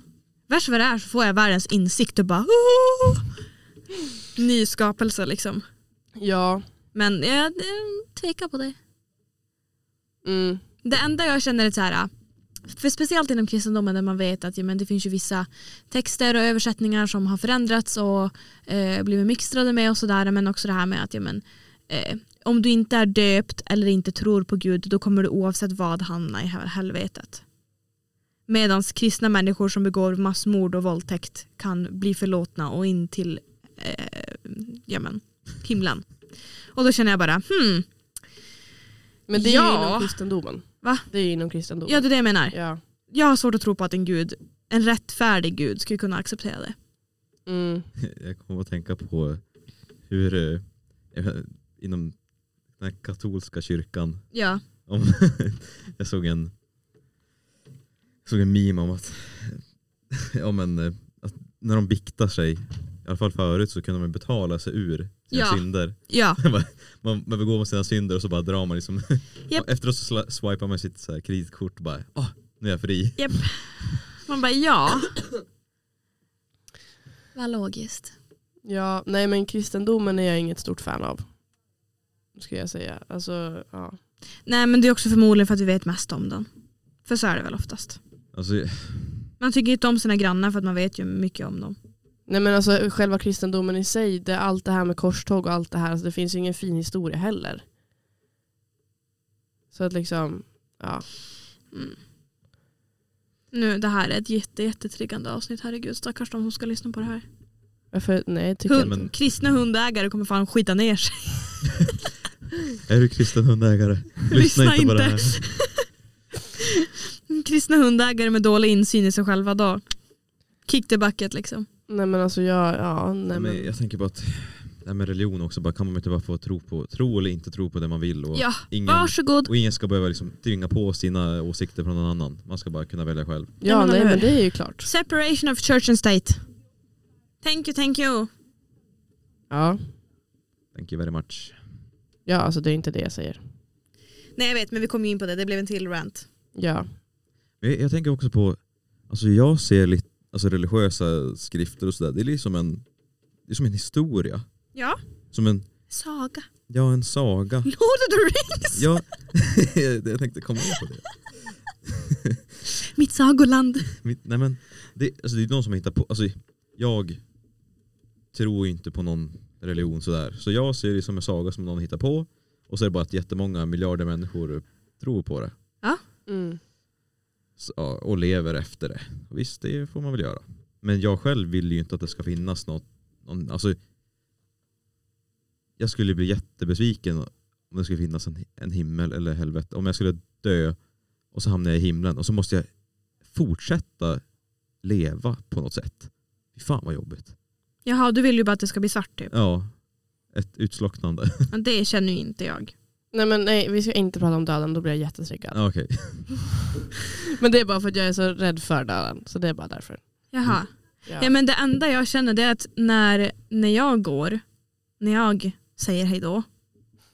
Värst vad det är så får jag världens insikt och bara "Åh!" Ny skapelse liksom. Ja. Men jag eh, tvekar på det. Mm. Det enda jag känner är så här, för speciellt inom kristendomen där man vet att ja, men det finns ju vissa texter och översättningar som har förändrats och eh, blivit mixtrade med och sådär men också det här med att ja, men, eh, om du inte är döpt eller inte tror på Gud då kommer du oavsett vad hamna i hel- helvetet. Medan kristna människor som begår massmord och våldtäkt kan bli förlåtna och in till eh, ja, men, himlen. Och då känner jag bara hmm, Men det är ju Ja. inom kristendomen. Va? Det är ju inom kristendomen. ja det är det jag menar. Ja. jag har svårt att tro på att en gud, en rättfärdig gud skulle kunna acceptera det. Mm. Jag kommer att tänka på hur eh, jag- inom den här katolska kyrkan Ja. om [LAUGHS] jag såg en jag såg en meme om att, [LAUGHS] ja, men, eh, att när de biktar sig, i alla fall förut så kunde man betala sig ur sina Ja. synder. [LAUGHS] ja. Man, man begår sina synder och så bara drar man liksom, Japp. efteråt så sla- swipar man sitt så här kreditkort och bara ah, nu är jag fri. Man bara ja. Vad logiskt. Ja, nej men kristendomen är jag inget stort fan av. skulle jag säga. Alltså, ja. Nej men det är också förmodligen för att vi vet mest om den. För så är det väl oftast. Alltså, Man tycker inte om sina grannar för att man vet ju mycket om dem. Nej men alltså själva kristendomen i sig, det, allt det här med korståg och allt det här, alltså, det finns ju ingen fin historia heller. Så att liksom, ja. Mm. Nu, det här är ett jätte, jättetriggande avsnitt. Herregud stackars de som ska lyssna på det här. Varför, nej tycker jag Hund, inte. men- Kristna hundägare kommer fan skita ner sig. [LAUGHS] är du kristen hundägare? Lyssna, inte på det här. Kristna hundägare med dålig insyn i sig själva då. Kick the bucket liksom. Nej men alltså jag, ja, nej Nej, men men. jag tänker på att det här med religion också, bara, kan man inte bara få tro på, tro eller inte tro på det man vill? Och, Ja, ingen, varsågod. och ingen ska behöva liksom tvinga på sina åsikter från någon annan. Man ska bara kunna välja själv. Ja men nej eller hur? men det är ju klart. Separation of church and state. Thank you, thank you. Ja, Thank you very much. ja alltså det är inte det jag säger. Nej jag vet men vi kom ju in på det, det blev en till rant. Ja, Men jag, jag tänker också på, alltså jag ser lite, alltså religiösa skrifter och sådär, det är liksom en, det är som en historia. Ja. Som en, Saga. [LAUGHS] ja en saga. Lord of the Rings. Ja, [LAUGHS] jag tänkte komma in på det. Mitt sagoland. Mitt, nej men, det, alltså det är någon som hittar på, alltså jag tror ju inte på någon religion sådär. Så jag ser det som en saga som någon hittar på och så är det bara att jättemånga miljarder människor tror på det. mm. Så, ja, och lever efter det. Och visst, det får man väl göra. Men jag själv vill ju inte att det ska finnas något, någon, alltså jag skulle bli jättebesviken om det skulle finnas en, en himmel eller helvete. Om jag skulle dö och så hamnar jag i himlen och så måste jag fortsätta leva på något sätt. Fy fan vad jobbigt. Jaha du vill ju bara att det ska bli svart typ. Ja, ett utslocknande. Ja, Det känner ju inte jag. Nej men nej, vi ska inte prata om döden, då blir jag jättetriggad. [LAUGHS] Ja, Okej. Men det är bara för att jag är så rädd för döden, så det är bara därför. Jaha. Ja. Mm. Ja, men det enda jag känner det är att när, när jag går, när jag säger hej då,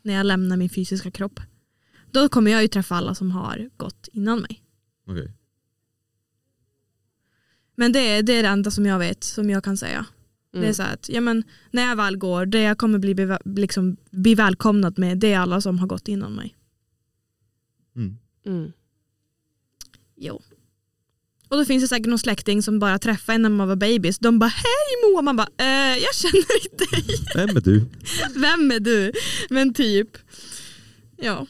när jag lämnar min fysiska kropp, då kommer jag ju träffa alla som har gått innan mig. Okej. Men det, är- det är det enda som jag vet, som jag kan säga. Det är Mm. så här att ja, men, när jag väl går, det jag kommer bli, beva- liksom, bli välkomnad med, det är alla som har gått innan mig. Mm. Mm. Jo. Och då finns det säkert någon släkting som bara träffade en när man var babys. De bara hej Moa, man bara eh, jag känner inte dig. Vem är du? [LAUGHS] Vem är du? Men typ. Ja.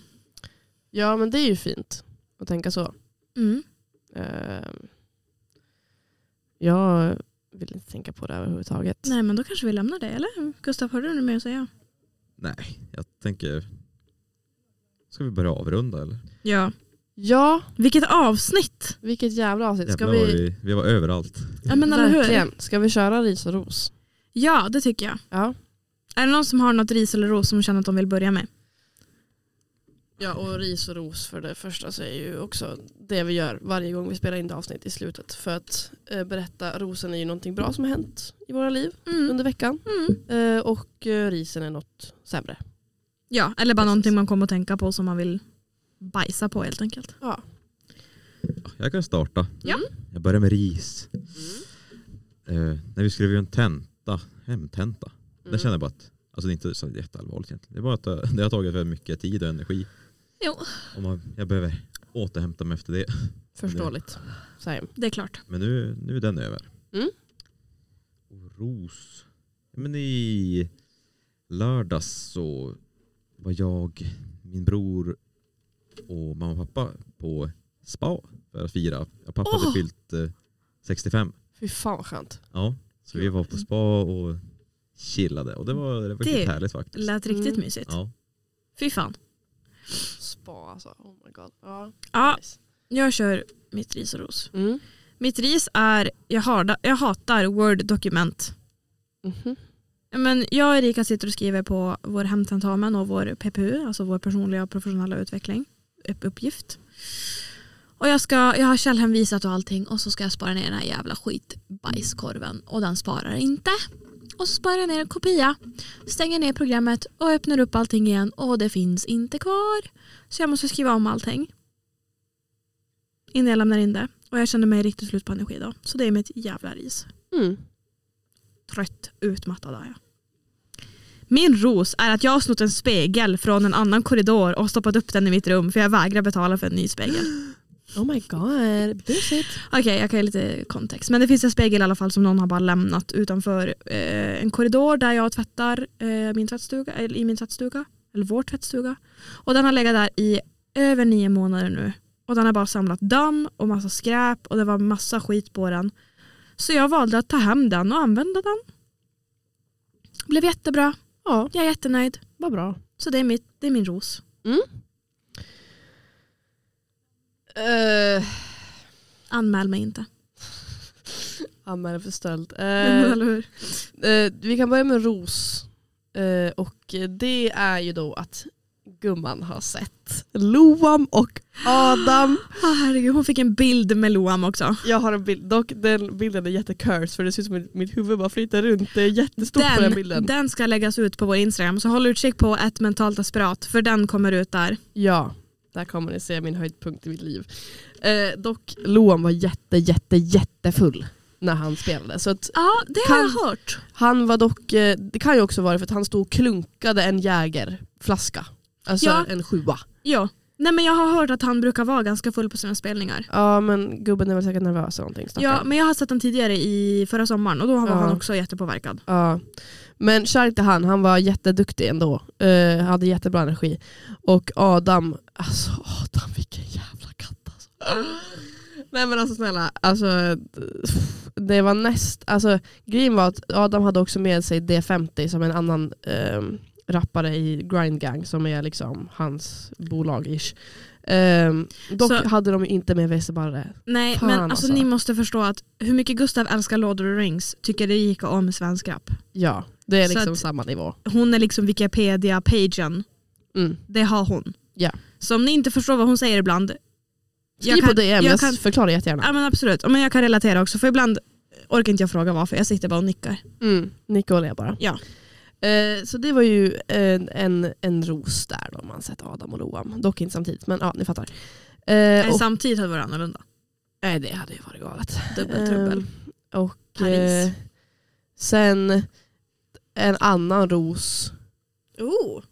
ja men det är ju fint att tänka så. Mm. Ehm, jag vill inte tänka på det överhuvudtaget. Nej men då kanske vi lämnar det eller? Gustav har du något mer att säga? Nej, jag tänker... Ska vi börja avrunda eller? Ja. Ja, Vilket avsnitt! vilket jävla avsnitt. Ska Jävlar vad vi, vi, vi var överallt. Ja men eller hur? verkligen, ska vi köra ris och ros? Ja det tycker jag. Ja. Är det någon som har något ris eller ros som känner att de vill börja med? Ja, och ris och ros för det första så är ju också det vi gör varje gång vi spelar in det avsnitt i slutet. För att eh, berätta, rosen är ju någonting bra som har hänt i våra liv Mm. under veckan. Mm. Eh, och eh, risen är något sämre. Ja eller bara Precis. någonting man kommer att tänka på som man vill bajsa på helt enkelt. Ja. Jag kan starta. Ja. Jag börjar med ris. Mm. Eh, när vi skrev ju en tenta, hemtenta, Mm. där kände jag bara att, alltså det är inte så jätteallvarligt egentligen. Det är bara att eh, det- det har tagit väldigt mycket tid och energi. Jo. Och man, jag behöver återhämta mig efter det. Förståeligt. Same. Det är klart. Men nu, nu är den över. Mm. Och ros. Ja, Men i lördags så var jag, min bror och mamma och pappa på spa för att fira. Pappa hade Åh! fyllt eh, 65. Fy fan vad skönt. Ja, så vi var på spa och chillade och det var, det var Det- riktigt härligt faktiskt. Lät riktigt Mm. mysigt. Ja. Fy fan. Spa alltså. Oh my god. Ja. Ja, Nice. jag kör mitt ris och ros. Mm. Mitt ris är, jag, har, jag hatar word-dokument. Mhm. Ja, Men jag och Erika sitter och skriver på vår hemtentamen och vår PPU, alltså vår personliga och professionella utveckling, upp- uppgift. Och jag, ska, jag har källhänvisat och allting och så ska jag spara ner den här jävla skitbajskorven och den sparar inte. Och så sparar jag ner en kopia, stänger ner programmet och öppnar upp allting igen och det finns inte kvar. Så jag måste skriva om allting innan jag lämnar in det. Och jag känner mig riktigt slut på energi då. Så det är mitt jävla ris Mm. trött, utmattad är jag. Min ros är att jag har snott en spegel från en annan korridor och stoppat upp den i mitt rum för jag vägrar betala för en ny spegel. Oh my god, busigt. Okej, jag kan ge lite kontext. Men det finns en spegel i alla fall som någon har bara lämnat utanför eh, en korridor där jag tvättar eh, min tvättstuga, eller i min tvättstuga, eller vår tvättstuga. Och den har legat där i över nio månader nu. Och den har bara samlat damm och massa skräp och det var massa skit på den. Så jag valde att ta hem den och använda den. Blev jättebra. Ja, Jag är jättenöjd. vad bra. Så det är, mitt, det är min ros. Mm. [LAUGHS] Uh, Anmäl mig inte. Anmälan för stöld. [LAUGHS] Eh, [LAUGHS] Eller hur? eh, vi kan börja med ros. Eh, och det är ju då att gumman har sett Loam och Adam. Ah, herregud, hon fick en bild med Loam också. Jag har en bild, dock den bilden är jättecurse för det ser ut som att mitt huvud bara flyter runt. Det är jättestort på den bilden. den ska läggas ut på vår Instagram så håll utkik på ett mentalt desperat för den kommer ut där. Ja, där kommer ni se min höjdpunkt i mitt liv. Eh, dock, Loam var jätte, jätte, jättefull när han spelade. Så att Ja, det har har jag jag hört. han var dock, eh, det kan ju också vara för att han stod och klunkade en jägerflaska. Alltså Ja. en sjua. Ja. Nej, men jag har hört att han brukar vara ganska full på sina spelningar. Ja men gubben är väl säkert nervös eller någonting. Ja, stackarn. men jag har sett honom tidigare i förra sommaren och då var Ja. han också jättepåverkad. Ja. Men kär till han, han var jätteduktig ändå. Eh, hade jättebra energi. Och Adam, alltså Adam vilken jävla katt alltså. Nej men alltså snälla, alltså, det var näst, alltså grejen var att Adam hade också med sig D50 som en annan ehm, rappare i Grind Gang som är liksom hans bolag ish. Ehm, dock Så- hade de ju inte med Vesebarre. Nej, Fan men alltså, alltså. ni måste förstå att hur mycket Gustav älskar Lord of the Rings tycker det gick om svensk rap. Ja, det är Så liksom att- samma nivå. Hon är liksom Wikipedia-pagen. Mm. Det har hon. Ja. Så om ni inte förstår vad hon säger ibland. Skriv på DM, jag, jag kan- förklarar jättegärna. Ja men absolut, Ja, men jag kan relatera också för ibland orkar inte jag fråga varför, jag sitter bara och nickar. Mm, Nicola bara. Ja. Eh, så det var ju en, en, en ros där då, om man sett Adam och Loam. Dock inte samtidigt, men ja, ni fattar. Eh, Nej, och, Samtidigt hade det varit annorlunda. nej, det hade ju varit galet. Dubbel trubbel. Eh, och Paris. eh, sen en annan ros. Oh,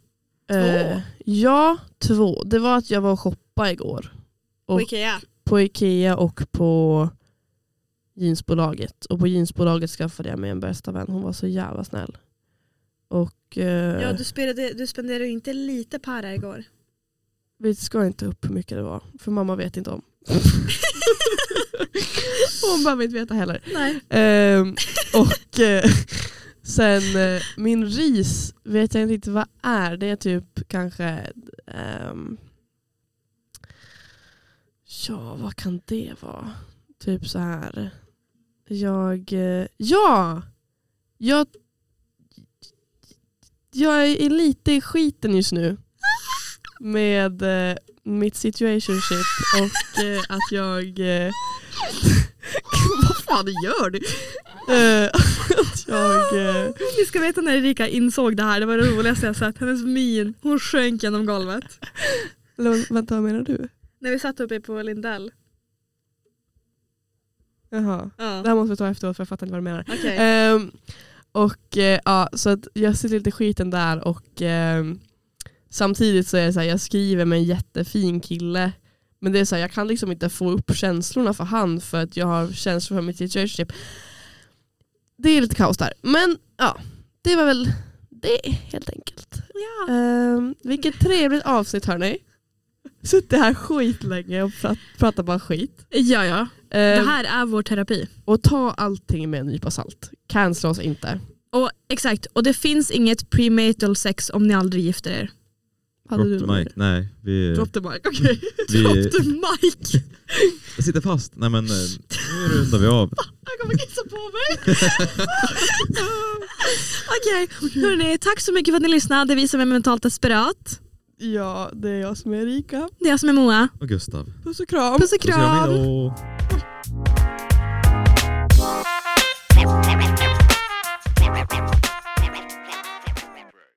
Eh, Två? Ja, två. Det var att jag var och shoppade igår. Och- Ikea. På Ikea och på jeansbolaget. Och på jeansbolaget skaffade jag mig en bästa vän. Hon var så jävla snäll. Och eh, spenderade, du spenderade ju inte lite para igår. vi ska inte upp hur mycket det var. För mamma vet inte om. [LAUGHS] Hon behöver inte veta heller. Nej. Ehm, och eh, sen eh, min ris vet jag inte riktigt vad är. Det är typ kanske... ehm, ja, vad kan det vara? Typ så här. Jag... eh, ja! Jag... Jag är lite i skiten just nu. Med eh, mitt situationship och eh, att jag... Eh, vad fan gör du? Eh, [LAUGHS] att jag... Eh, Ni ska veta när Erika insåg det här, det var det roligaste jag sett. Hennes min, hon sjönk genom golvet. eller vad- vänta, vad menar du? När vi satt uppe på Lindell. Jaha. Det Ja. här måste vi ta efteråt för jag fattar inte vad du menar. Okej. Ehm, och eh, ja, så att jag sitter lite i skiten där och ehm, samtidigt så är det så här, jag skriver med en jättefin kille. Men det är så här, jag kan liksom inte få upp känslorna för han för att jag har känslor för mitt situationship. Det är lite kaos där. Men ja, det var väl det helt enkelt. Ja. Um, vilket trevligt [LAUGHS] avsnitt hörni. Suttit här skitlänge och prat, pratat bara skit. ja, ja. Det Ehm, här är vår terapi. och ta allting med en nypa salt. Cancela oss inte. Och, exakt, och det finns inget prematal sex om ni aldrig gifter er. Hade Drop du the någon mic. Nej, vi... Drop the mic, okej. Vi- Drop the mic! Jag sitter fast. Nej men eh, nu rundar vi av. Jag kommer kissa på mig. Okej, hörni. Tack så mycket för att ni lyssnade. Det är vi som är mentalt desperat. Ja, det är jag som är Erika. Det är jag som är Moa. Och Gustav. Puss och kram. Puss och Puss och kram, kram. hejdå.